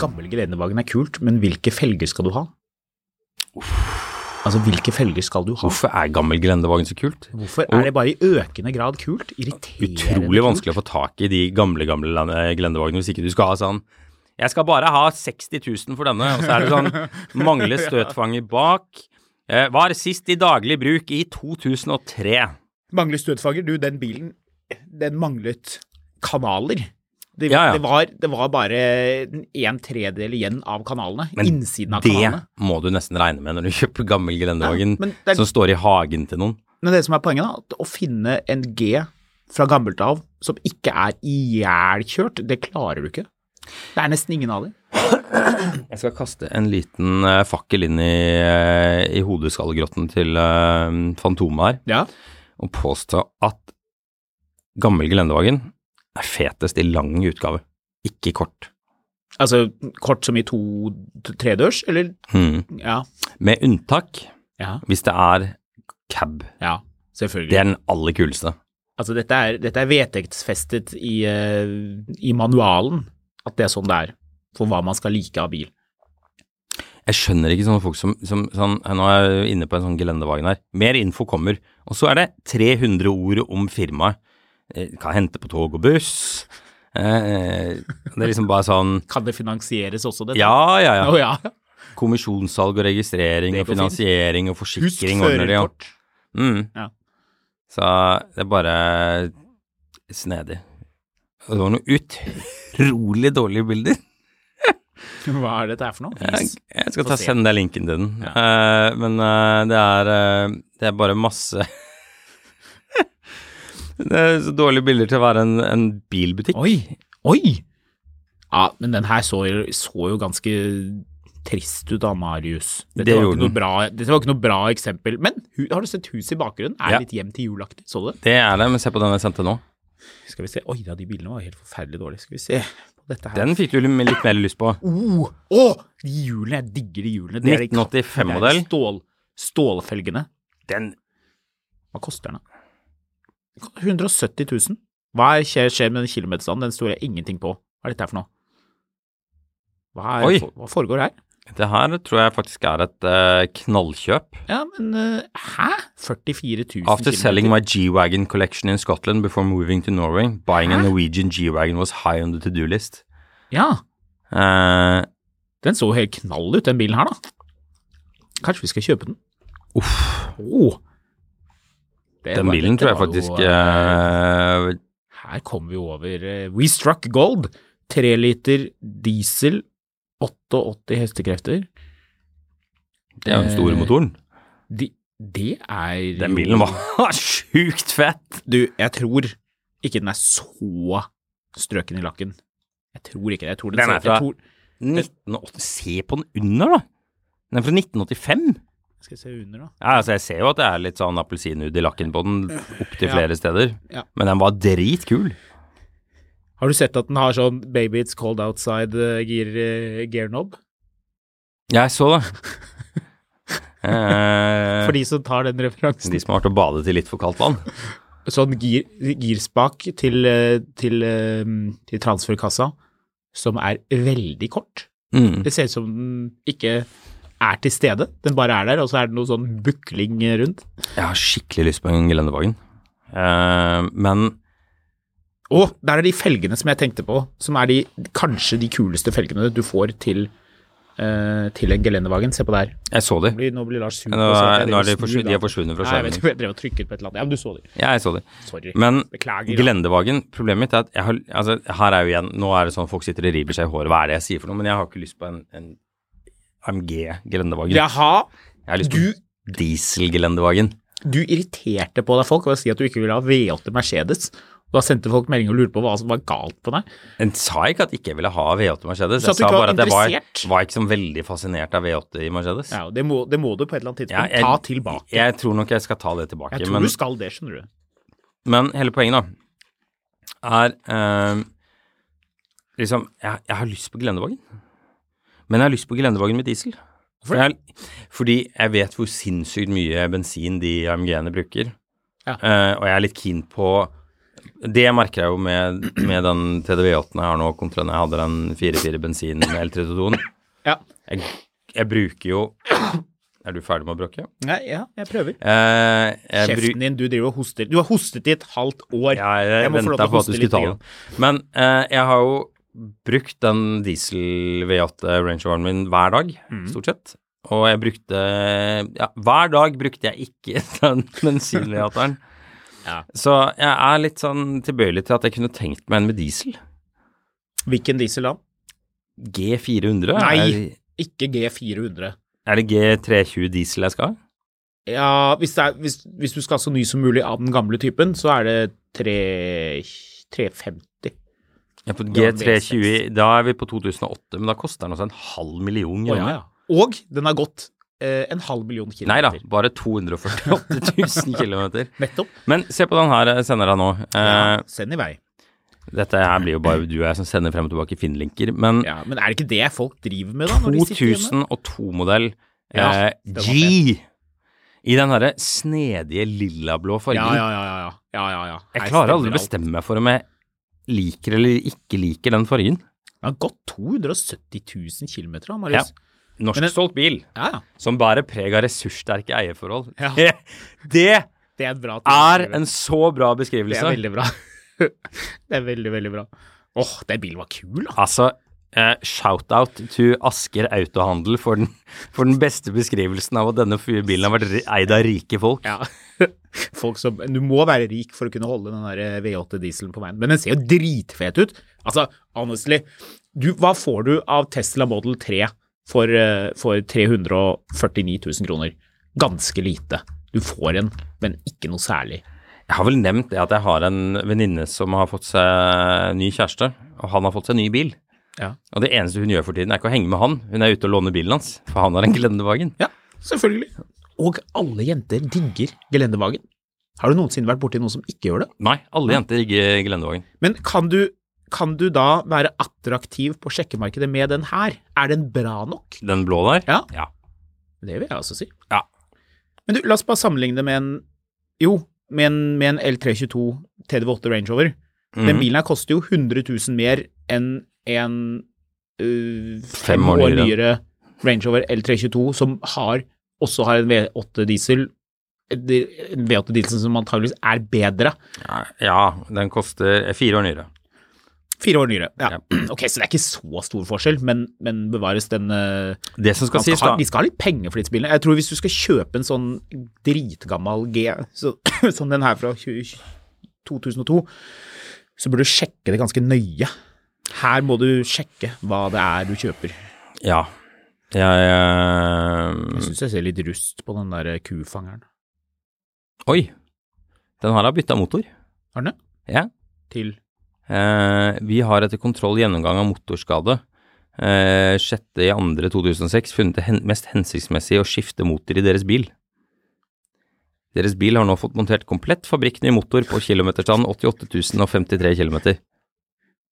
B: Gammel gelendevagen er kult, men hvilke felger skal du ha? Altså, hvilke felger skal du ha?
A: Hvorfor er gammel Glendevagen så kult?
B: Hvorfor er det bare i økende grad kult? Irriterende
A: Utrolig
B: kult.
A: vanskelig å få tak i de gamle, gamle land- eh, Glendevagnene hvis ikke du skal ha sånn Jeg skal bare ha 60 000 for denne, og så er det
B: <laughs>
A: sånn Mangler støtfanger bak. Eh, var sist i daglig bruk i 2003.
B: Mangler støtfanger. Du, den bilen, den manglet kanaler. Det,
A: Ja, ja.
B: det, var, det var bare en tredjedel igjen av kanalene. innsiden av
A: det
B: kanalene.
A: må du nesten regne med når du kjøper gammel Glendevagen
B: Ja, men det er-
A: som står i hagen til noen.
B: Men det som er poenget, da, at å finne en G fra gammelt av som ikke er ihjelkjørt, det klarer du ikke. Det er nesten ingen av dem.
A: Jeg skal kaste en liten eh, fakkel inn i, eh, i hodeskallgrotten til uh, Fantomet her.
B: Ja.
A: og påstå at gammel gelendevagen er fetest i lang utgave, ikke kort.
B: Altså kort som i to tredørs, eller?
A: Hmm.
B: Ja.
A: Med unntak
B: Ja.
A: hvis det er cab.
B: ja
A: Det
B: selvfølgelig.
A: er den aller kuleste.
B: Altså dette er, dette er vedtektsfestet i, eh, i manualen, at det er sånn det er for hva man skal like av bil.
A: Jeg skjønner ikke sånne folk som, som sånn, Nå er jeg inne på en sånn gelendevagen her. Mer info kommer. Og så er det 300 ord om firmaet. Eh, Kan hente på tog og buss. Eh, det er liksom bare sånn
B: Kan det finansieres også, dette?
A: Ja, ja, ja.
B: Å ja.
A: Kommisjonssalg og registrering
B: Det
A: og
B: går fint.
A: finansiering og
B: Husk
A: forsikring ordner de, ja.
B: førerkort.
A: Mm.
B: Ja.
A: Så det er bare snedig. Og Det var noen utrolig dårlige bilder.
B: Hva er dette her for noe?
A: Jeg,
B: Vis.
A: jeg skal
B: Få
A: ta
B: se.
A: sende deg linken til den. Eh, men eh, det, er, eh, det er bare masse <laughs> Det er så dårlige bilder til å være en, en bilbutikk.
B: Oi! Oi! Ja, men den her så, jo- så jo ganske trist ut da, Marius. Dette
A: Det
B: var
A: gjorde
B: ikke
A: den.
B: noe bra, Dette var ikke noe bra eksempel. Men hu- har du sett huset i bakgrunnen? Er
A: Ja.
B: litt hjem til julaktig, så du det?
A: Det er det, men se på den jeg sendte nå.
B: Skal vi se. Oi da, de bildene var helt forferdelig dårlige. Skal vi se på dette her.
A: Den fikk du litt litt mer lyst på.
B: Oh, Å, de hjulene. Jeg digger de hjulene. Det er de-
A: 1985-modell.
B: det er de Stål, stålfelgene.
A: Den
B: Hva koster den, da? 170 000. Hva er- skjer, skjer med den kilometerstanden? Den står jeg ingenting på. Hva er dette her for noe? Hva,
A: Oi.
B: er, hva foregår her?
A: Det her tror jeg faktisk er et eh, knallkjøp.
B: Ja, men eh, hæ? 44 000
A: After
B: kilometer.
A: selling my G-Wagon collection in Scotland before moving to Norway, buying a
B: Hæ?
A: Norwegian G-Wagon was high on the to-do list.
B: Ja,
A: Eh,
B: den så helt knall ut, den bilen her, da. Kanskje vi skal kjøpe den? Uff.
A: den bilen tror jeg faktisk eh,
B: Her kommer vi over eh, We Struck Gold. Tre liter diesel, 88 hestekrefter.
A: Det er jo den store
B: eh,
A: motoren.
B: De, det er
A: Den
B: jo-
A: bilen var <laughs> sjukt fett!
B: Du, jeg tror ikke den er så strøken i lakken. Jeg tror ikke det. Jeg tror den,
A: Den er
B: ser- jeg
A: fra-
B: tror,
A: 1980, se på den under, da! Den er fra 1985.
B: Skal jeg se under, da.
A: Ja, altså Jeg ser jo at det er litt sånn appelsinhud i lakken på den opptil
B: Ja.
A: flere steder,
B: Ja.
A: men den var dritkul.
B: eh, Har du sett at den har sånn Baby It's Cold Outside-girknob?
A: Jeg så det.
B: <laughs>
A: Eh,
B: For de som tar den referansen.
A: de som har vært og badet i litt for kaldt vann.
B: sånn gir, girspak til, eh, til, eh, til transferkassa som er veldig kort.
A: Mm.
B: Det ser ut som den ikke er til stede. Den bare er der, og så er det noe sånn bukling rundt.
A: Jeg har skikkelig lyst på en gelendevagen. Eh, men
B: Å, der er de felgene som jeg tenkte på, som er de kanskje de kuleste felgene du får til, eh, til en gelendevagen. Se på der.
A: jeg så de.
B: Nå blir, nå blir Lars sur.
A: Nå
B: på seg. Jeg
A: er, nå er de,
B: driver og snur
A: forsvun- de er
B: da.
A: forsvunnet fra
B: Nei, jeg
A: skjermen.
B: vet ikke, jeg drev og trykket på et eller annet. Ja, men du så det.
A: Ja, jeg så de.
B: Sorry.
A: Men
B: Beklager. da.
A: Gelendevagen, problemet mitt er at jeg har, altså, her er jo igjen, nå er det sånn folk sitter og river seg i håret, hva er det jeg sier for noe, men jeg har ikke lyst på en, en MG Gelendevagen.
B: Jaha,
A: jeg har lyst på
B: du,
A: diesel Gelendevagen.
B: du irriterte på deg folk ved å si at du ikke ville ha V8 Mercedes. Og da sendte folk melding og lurte på hva som var galt på deg.
A: Jeg sa ikke at ikke jeg ville ha V8 Mercedes, jeg sa
B: Så at du ikke var
A: bare at jeg var,
B: interessert?
A: var ikke sånn veldig fascinert av V8 i Mercedes.
B: Ja, og det, må, det må du på et eller annet
A: Ja,
B: tidspunkt
A: jeg-
B: ta tilbake. Jeg,
A: Jeg tror nok jeg skal ta det tilbake,
B: tror
A: men,
B: du skal det, skjønner du.
A: men hele poenget da er eh, liksom, jeg, jeg har lyst på Gelendevagen, men jeg har lyst på Gelendevagen med diesel. For jeg, fordi jeg vet hvor sinnssykt mye bensin de AMG-ene bruker.
B: Ja.
A: Eh, og jeg er litt keen på Det merker jeg jo med, med den TDV8-en jeg har nå, kontra når jeg hadde den 4-4 bensin L32-en.
B: Ja.
A: Jeg, jeg bruker jo Er du ferdig med å bråke?
B: Nei, ja, jeg prøver.
A: Eh, jeg bru-
B: Kjeften din, du driver og hoster. Du har hostet i et halvt år.
A: Ja, jeg
B: må få lov til
A: venta på
B: å
A: at
B: hoste
A: du skulle
B: litt
A: ta
B: grann.
A: den. Men eh, jeg har jo brukt den diesel V8 Range Roveren min hver dag,
B: Mm.
A: stort sett. Og jeg brukte Ja, hver dag brukte jeg ikke <laughs> den bensin V8-eren.
B: <laughs> Ja.
A: Så jeg er litt sånn tilbøyelig til at jeg kunne tenkt meg en med diesel.
B: Hvilken diesel da?
A: G400?
B: Nei.
A: Er,
B: Ikke G400.
A: er det G320 diesel jeg skal ha?
B: Ja, hvis, det er, hvis, hvis du skal så ny som mulig av den gamle typen, så er det tre, 350.
A: Ja, på
B: Ja,
A: G320 Da er vi på 2008, men da koster den også en halv million
B: Å,
A: kroner.
B: ja, ja. Og den har gått eh, en halv million
A: Nei da,
B: kilometer.
A: bare 248 000 kilometer.
B: Nettopp.
A: Men se på den her jeg sender deg nå. Eh,
B: Ja, send i vei.
A: Dette her blir jo bare du og jeg som sender frem og tilbake Finn-linker. Men
B: Ja, men er det ikke det folk driver med da? Når de sitter hjemme?
A: 2002-modell eh,
B: Ja, det var
A: G i den herre snedige lillablå fargen.
B: Ja, ja, ja. ja, ja. ja, ja, ja. Her
A: Jeg klarer
B: stemmer
A: aldri å
B: alt.
A: bestemme meg for om jeg liker eller ikke liker den fargen.
B: Den har gått 270 000 kilometer da,
A: Ja.
B: Marius.
A: Norsksolgt bil
B: Ja, ja.
A: som bærer preg av ressurssterke eierforhold.
B: Ja.
A: <laughs> Det
B: Det er bra.
A: er
B: tilbakeskrive.
A: en så bra
B: Det
A: beskrivelse.
B: er veldig bra. <laughs> det er veldig, veldig bra. Åh, den bilen var kul, da.
A: Altså, eh, shout-out to Asker Autohandel for den, for den beste beskrivelsen av at denne bilen har vært ri- eid av rike folk.
B: Ja. <laughs> Folk som, du må være rik for å kunne holde den der eh, V8-dieselen på veien. Men den ser jo dritfet ut. Altså, honestly, du, hva får du av Tesla Model 3 for, eh, for 349 000 kroner? Ganske lite. Du får en, men ikke noe særlig.
A: Jeg har vel nevnt det at jeg har en venninne som har fått seg ny kjæreste, og han har fått seg ny bil.
B: Ja.
A: Og det eneste hun gjør for tiden, er ikke å henge med han, hun er ute og låner bilen hans, for han har en gelendevagen.
B: Ja, selvfølgelig. Og alle jenter digger gelendevagen. Har du noensinne vært borti noen som ikke gjør det?
A: Nei, alle jenter ikke gelendevagen.
B: Men kan du, kan du da være attraktiv på sjekkemarkedet med den her? Er den bra nok?
A: Den blå der?
B: Ja.
A: Ja.
B: Det vil jeg også si.
A: Ja.
B: Men du, la oss bare sammenligne det med en Jo, med en, med en L322 TDV8 Range Rover. Den
A: Mhm.
B: bilen her koster jo 100 000 mer enn en øh, fem
A: år
B: år
A: nyere.
B: nyere Range Rover L322, som har, også har en V8 diesel. En V8 diesel som antageligvis er bedre.
A: Mm. Ja, den koster eh, fire år nyere.
B: Fire år nyere. Ja.
A: Ja.
B: <clears throat> Ok, så det er ikke så stor forskjell, men, men bevares den øh,
A: Det som skal
B: Man skal
A: sies da...
B: ha, de skal ha litt penger for disse bilene. Jeg tror hvis du skal kjøpe en sånn dritgammal G, <coughs> så, som den her fra 20, 2002, så burde du sjekke det ganske nøye. Her må du sjekke hva det er du kjøper.
A: Ja. Jeg... eh,
B: Jeg syns jeg ser litt rust på den der kufangeren.
A: Oi, den her har bytta motor.
B: Arne?
A: Ja.
B: Til
A: Eh, vi har etter kontroll gjennomgang av motorskade eh, 6.2.2006 funnet det hen mest hensiktsmessig å skifte motor i deres bil. Deres bil har nå fått montert komplett fabrikkny motor på kilometerstand 88 053 km.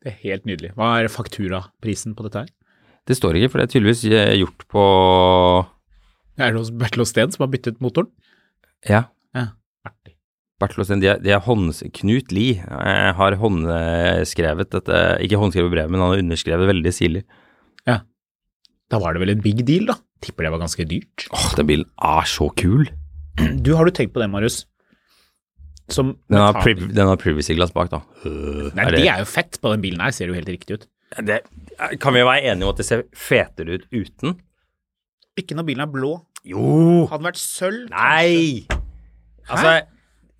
B: Det er helt nydelig. Hva er fakturaprisen på dette her?
A: Det står ikke, for det er tydeligvis eh, gjort på
B: Er det hos Bertil Osten som har byttet motoren?
A: Ja,
B: Ja. Artig.
A: Bertil Osten, de, er- de er hånds... Knut Lie eh, har håndskrevet dette Ikke håndskrevet brevet, men han har underskrevet veldig sirlig.
B: Da var det vel en big deal, da. Tipper det var ganske dyrt.
A: Åh, den bilen er så kul!
B: Du, har du tenkt på det, Marius? Som
A: Den har,
B: metaller-
A: priv, den har privacy-glass bak, da. Øh,
B: Nei,
A: Er
B: det
A: det-
B: er jo fett på den bilen her, ser jo helt riktig ut.
A: Det, kan vi jo være enige om at det ser fetere ut uten?
B: Ikke når bilen er blå.
A: Jo!
B: Hadde den vært sølv
A: Nei! Altså,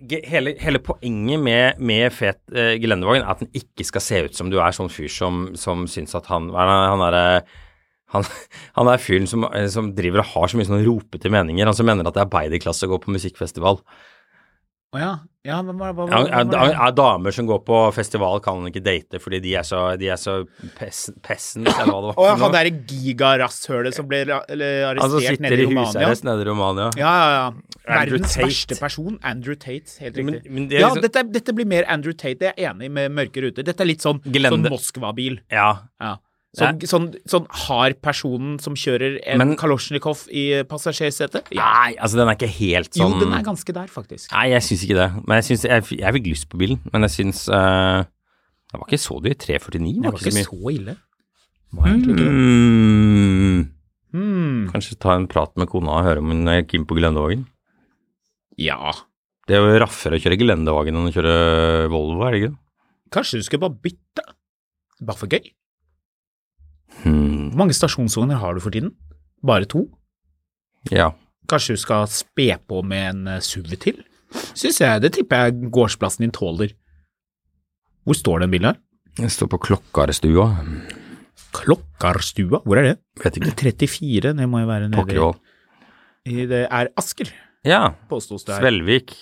A: ge- hele, hele poenget med, med fet eh, gelendervogn er at den ikke skal se ut som du er sånn fyr som, som syns at han hva er det, Han er, eh, han, <laughs> han er fyren som, eh, som driver og har så mye sånn ropete meninger. Han som mener at det er arbeiderklasse å gå på musikkfestival.
B: Å ja. ja men hva, hva, hva,
A: Han,
B: hva,
A: er, er, er damer som går på festival, kan han ikke date fordi de er så, de er så pess, pessen, eller hva det var.
B: Å ja,
A: for noe.
B: han derre gigarasshølet som ble ra- eller
A: Han som
B: arrestert
A: Altså, sitter
B: nede i
A: i
B: Romania.
A: husarrest nede i Romania.
B: Ja, ja, ja.
A: Andrew
B: Verdens
A: Tate.
B: verste person, Andrew Tate. Helt
A: Men-
B: riktig.
A: men det er
B: ja,
A: liksom-
B: dette, er- dette blir mer Andrew Tate, det er jeg enig med Mørke Ruter. Dette er litt sånn, sånn
A: Gelende.
B: Moskva-bil.
A: Ja.
B: Ja. Sånn, sånn, sånn hard personen som kjører en
A: Men-
B: Kalosjnikov i passasjersetet?
A: Nei, altså den er ikke helt
B: Jo,
A: sånn
B: den er ganske der, faktisk.
A: Nei, jeg syns ikke det. Men jeg, syns, jeg, jeg fikk lyst på bilen, men jeg syns eh, Den var ikke så dyr. 349
B: Den
A: var,
B: var
A: ikke så mye.
B: ille.
A: Mm.
B: Hmm.
A: Kanskje ta en prat med kona og høre om hun er keen på gelendervogn.
B: Ja,
A: Det er jo raffere å kjøre gelendervogn enn å kjøre Volvo, er det ikke? det?
B: kanskje du skulle bare bytte? Bare for gøy.
A: Hmm.
B: Hvor mange stasjonsvogner har du for tiden? Bare to?
A: Ja.
B: Kanskje du skal spe på med en eh, SUV til? Syns jeg, det tipper jeg gårdsplassen din tåler. Hvor står den bilen her?
A: Jeg står på Klokkarstua.
B: Klokkarstua, hvor er det?
A: Vet ikke.
B: 34, det må jo være nede
A: Pokkervoll.
B: i Det er Asker,
A: Ja.
B: påstås det her.
A: Svelvik.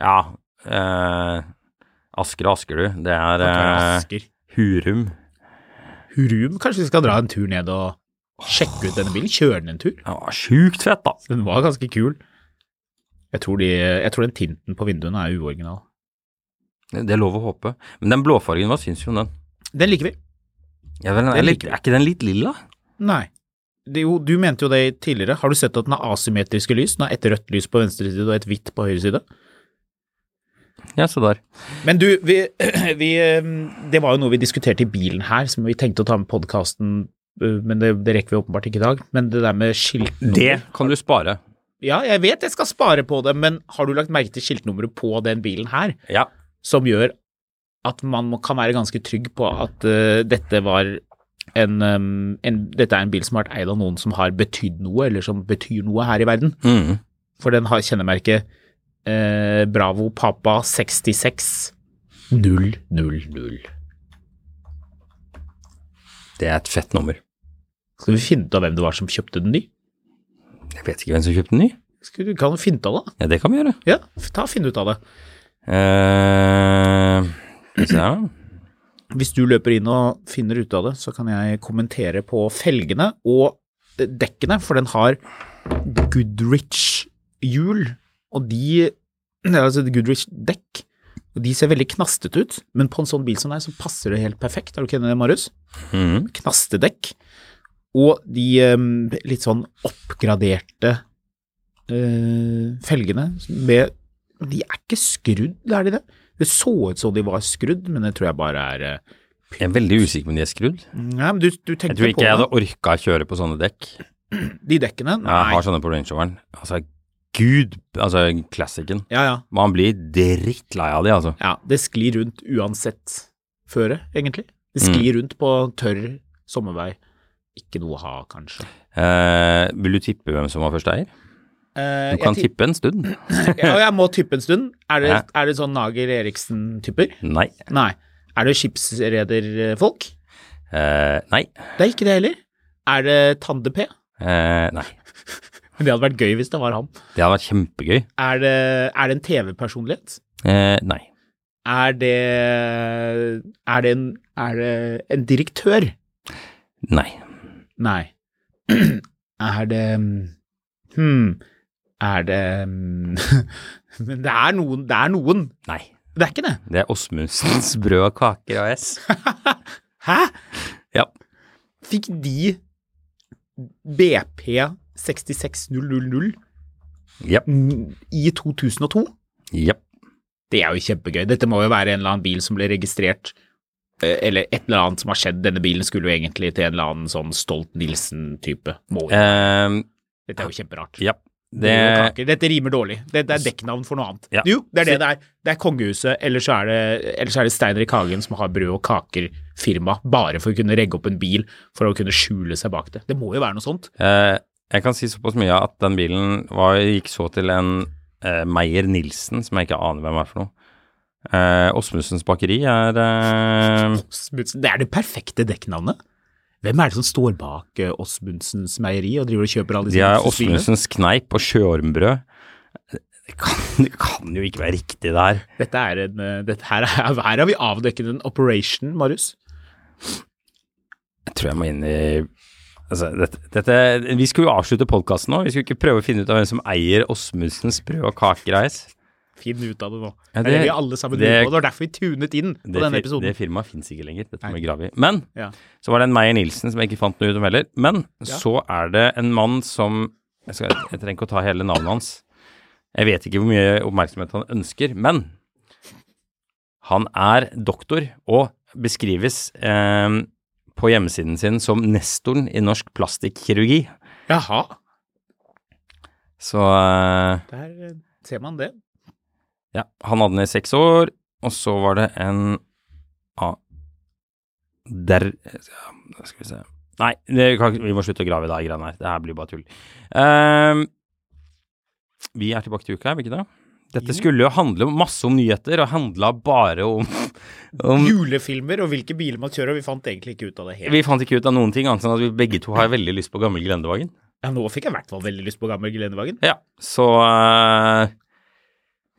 A: Ja. eh, Asker og Askerud. Det er
B: Det er
A: eh,
B: Asker.
A: Hurum.
B: Hurum, kanskje vi skal dra en tur ned og sjekke ut denne bilen? Kjøre den en tur?
A: Det var sjukt fett, da.
B: Den var ganske kul. Jeg tror, de, jeg tror den tinten på vinduene er uoriginal.
A: Det det er lov å håpe. Men den blåfargen, hva syns du om den?
B: Den liker vi.
A: Ja, vel, den er,
B: Den
A: litt,
B: liker
A: er ikke den litt lilla?
B: Nei. Det, er jo, du mente jo det tidligere. Har du sett at den har asymmetriske lys? Den har ett rødt lys på venstre side og et hvitt på høyre side.
A: Ja, se der.
B: Men du, vi, <clears throat> vi eh, Det var jo noe vi diskuterte i bilen her, som vi tenkte å ta med podkasten, men det, det rekker vi åpenbart ikke i dag. Men det der med skiltnummer
A: Det kan du spare.
B: Ja, jeg vet jeg skal spare på det, men har du lagt merke til skiltnummeret på den bilen her?
A: Ja.
B: som gjør at man må, kan være ganske trygg på at eh, dette var en, em, en, dette er en bil som har vært eid av noen som har betydd noe, eller som betyr noe her i verden.
A: Mm.
B: For den har kjennemerket eh, Bravo Papa 66 000.
A: Det er et fett nummer.
B: Skal vi finne ut av hvem det var som kjøpte den ny?
A: Jeg vet ikke hvem som kjøpte den ny.
B: Skal du, kan du finne ut av det?
A: Ja, det kan vi gjøre.
B: Ja, f- ta og finn ut av det.
A: Eh, skal vi se her, da.
B: Hvis du løper inn og finner ut av det, så kan jeg kommentere på felgene og eh, dekkene, for den har Goodrich-hjul, og de <clears throat> nei, Altså Goodrich-dekk. Og de ser veldig knastete ut, men på en sånn bil som deg, så passer det helt perfekt. Er du ikke enig i det, Marius?
A: Mm.
B: Knastedekk. Og de eh, litt sånn oppgraderte eh, felgene med De er ikke skrudd, er de det? Det så ut som de var skrudd, men det tror jeg bare er eh,
A: Jeg er veldig usikker på om de er skrudd.
B: Nei, men du, du tenkte
A: Jeg tror
B: på
A: ikke jeg hadde orka å kjøre på sånne dekk.
B: de dekkene?
A: Jeg har sånne på Range Roveren. Altså, gud Altså, classicen.
B: Ja, ja.
A: Man blir drittlei av de, altså.
B: ja. Det sklir rundt uansett føre, egentlig.
A: Mm.
B: Det sklir rundt på tørr sommervei. Ikke noe å ha, kanskje.
A: Eh, vil du tippe hvem som var første eier?
B: Eh,
A: Du kan tippe en stund.
B: ja, jeg må tippe en stund. Er det,
A: Ja.
B: er det sånn Nager Eriksen-typer?
A: Nei.
B: Nei. Er det skipsrederfolk?
A: Eh, nei.
B: Det er ikke det heller. Er det Tande-P?
A: Eh, nei.
B: Det hadde vært gøy hvis det var han.
A: Det hadde vært kjempegøy.
B: Er det, er det en TV-personlighet?
A: Eh, nei.
B: Er det Er det en, er det en direktør?
A: Nei.
B: Nei. <clears throat> Er det Hm. Er det hmm. <laughs> Men det er noen. Det er noen.
A: Nei.
B: Det er ikke det. <laughs>
A: Det er Åsmundsens brød og kaker AS.
B: Hæ?
A: Ja.
B: Fikk de BP 66000
A: Jepp.
B: i 2002?
A: Jepp.
B: Det er jo kjempegøy. Dette må jo være en eller annen bil som ble registrert, eh, eller et eller annet som har skjedd. Denne bilen skulle jo egentlig til en eller annen sånn Stolt-Nielsen-type. Må jo-
A: Eh,
B: Dette er jo kjemperart.
A: jepp. Det
B: Kaker. Dette rimer dårlig. Det, det er dekknavn for noe annet.
A: Ja.
B: Jo, det er det det er. Det er kongehuset, eller så er det, eller så er det Steinrik Hagen som har brød og kaker-firma, bare for å kunne regge opp en bil for å kunne skjule seg bak det. Det må jo være noe sånt.
A: Eh, jeg kan si såpass mye at den bilen var, gikk så til en eh, Meyer Nilsen, som jeg ikke aner hvem er for noe. Eh, Åsmundsens bakeri er eh,
B: Åsmundsen. Det er det perfekte dekknavnet. Hvem er det som står bak eh, Åsmundsens meieri og driver og kjøper alle
A: De
B: disse
A: er
B: luksusbilene?
A: Åsmundsens kneip og sjøormbrød. Det kan, <laughs> det kan jo ikke være riktig, det her.
B: Dette er en, eh, dette her, er, <laughs> her har vi avdekket en operation, Marius.
A: Jeg tror jeg må inn i Altså, dette, dette, vi skulle jo avslutte podkasten nå. Vi skulle ikke prøve å finne ut av hvem som eier Åsmundsens brød og kakereis.
B: Finn ut av det nå.
A: Ja,
B: det, er det
A: det-
B: vi alle sammen
A: det-
B: lurer på. Det var derfor vi tunet inn på
A: Det,
B: denne
A: fir-
B: episoden.
A: det firmaet fins ikke lenger. Dette må vi grave i. Men
B: Ja.
A: så var det en Meyer Nilsen som jeg ikke fant noe ut om heller. Men så er det en mann som jeg, skal, jeg trenger ikke å ta hele navnet hans. Jeg vet ikke hvor mye oppmerksomhet han ønsker, men han er doktor og beskrives eh, på hjemmesiden sin som nestoren i norsk plastikkirurgi.
B: Jaha,
A: Så eh,
B: der eh, ser man det.
A: Ja, han hadde den i seks år, og så var det en ah, Der ja, Skal vi se Nei, det kan, ikke- vi må slutte å grave i de greiene her. Det her blir bare tull. Ehm, vi er tilbake til uka, er vi ikke det? Dette skulle jo handle masse om nyheter, og handla bare om, om
B: Julefilmer og hvilke biler man kjører, og vi fant egentlig ikke ut av det helt.
A: Vi fant ikke ut av noen ting, annet enn at vi begge to har veldig lyst på gammel Grendevagen.
B: Ja, nå fikk jeg i hvert fall veldig lyst på gammel Glendevagen.
A: Ja, så eh,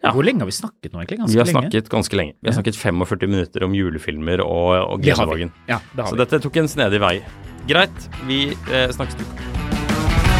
A: Ja.
B: Hvor lenge har vi snakket nå, egentlig?
A: Vi
B: Ganske
A: har
B: lenge.
A: snakket ganske lenge. Vi har snakket 45 minutter om julefilmer og, og
B: Det har vi.
A: Grendevagen.
B: Ja, det har
A: Så
B: vi.
A: dette tok en snedig vei. Greit, vi eh, snakkes til uka.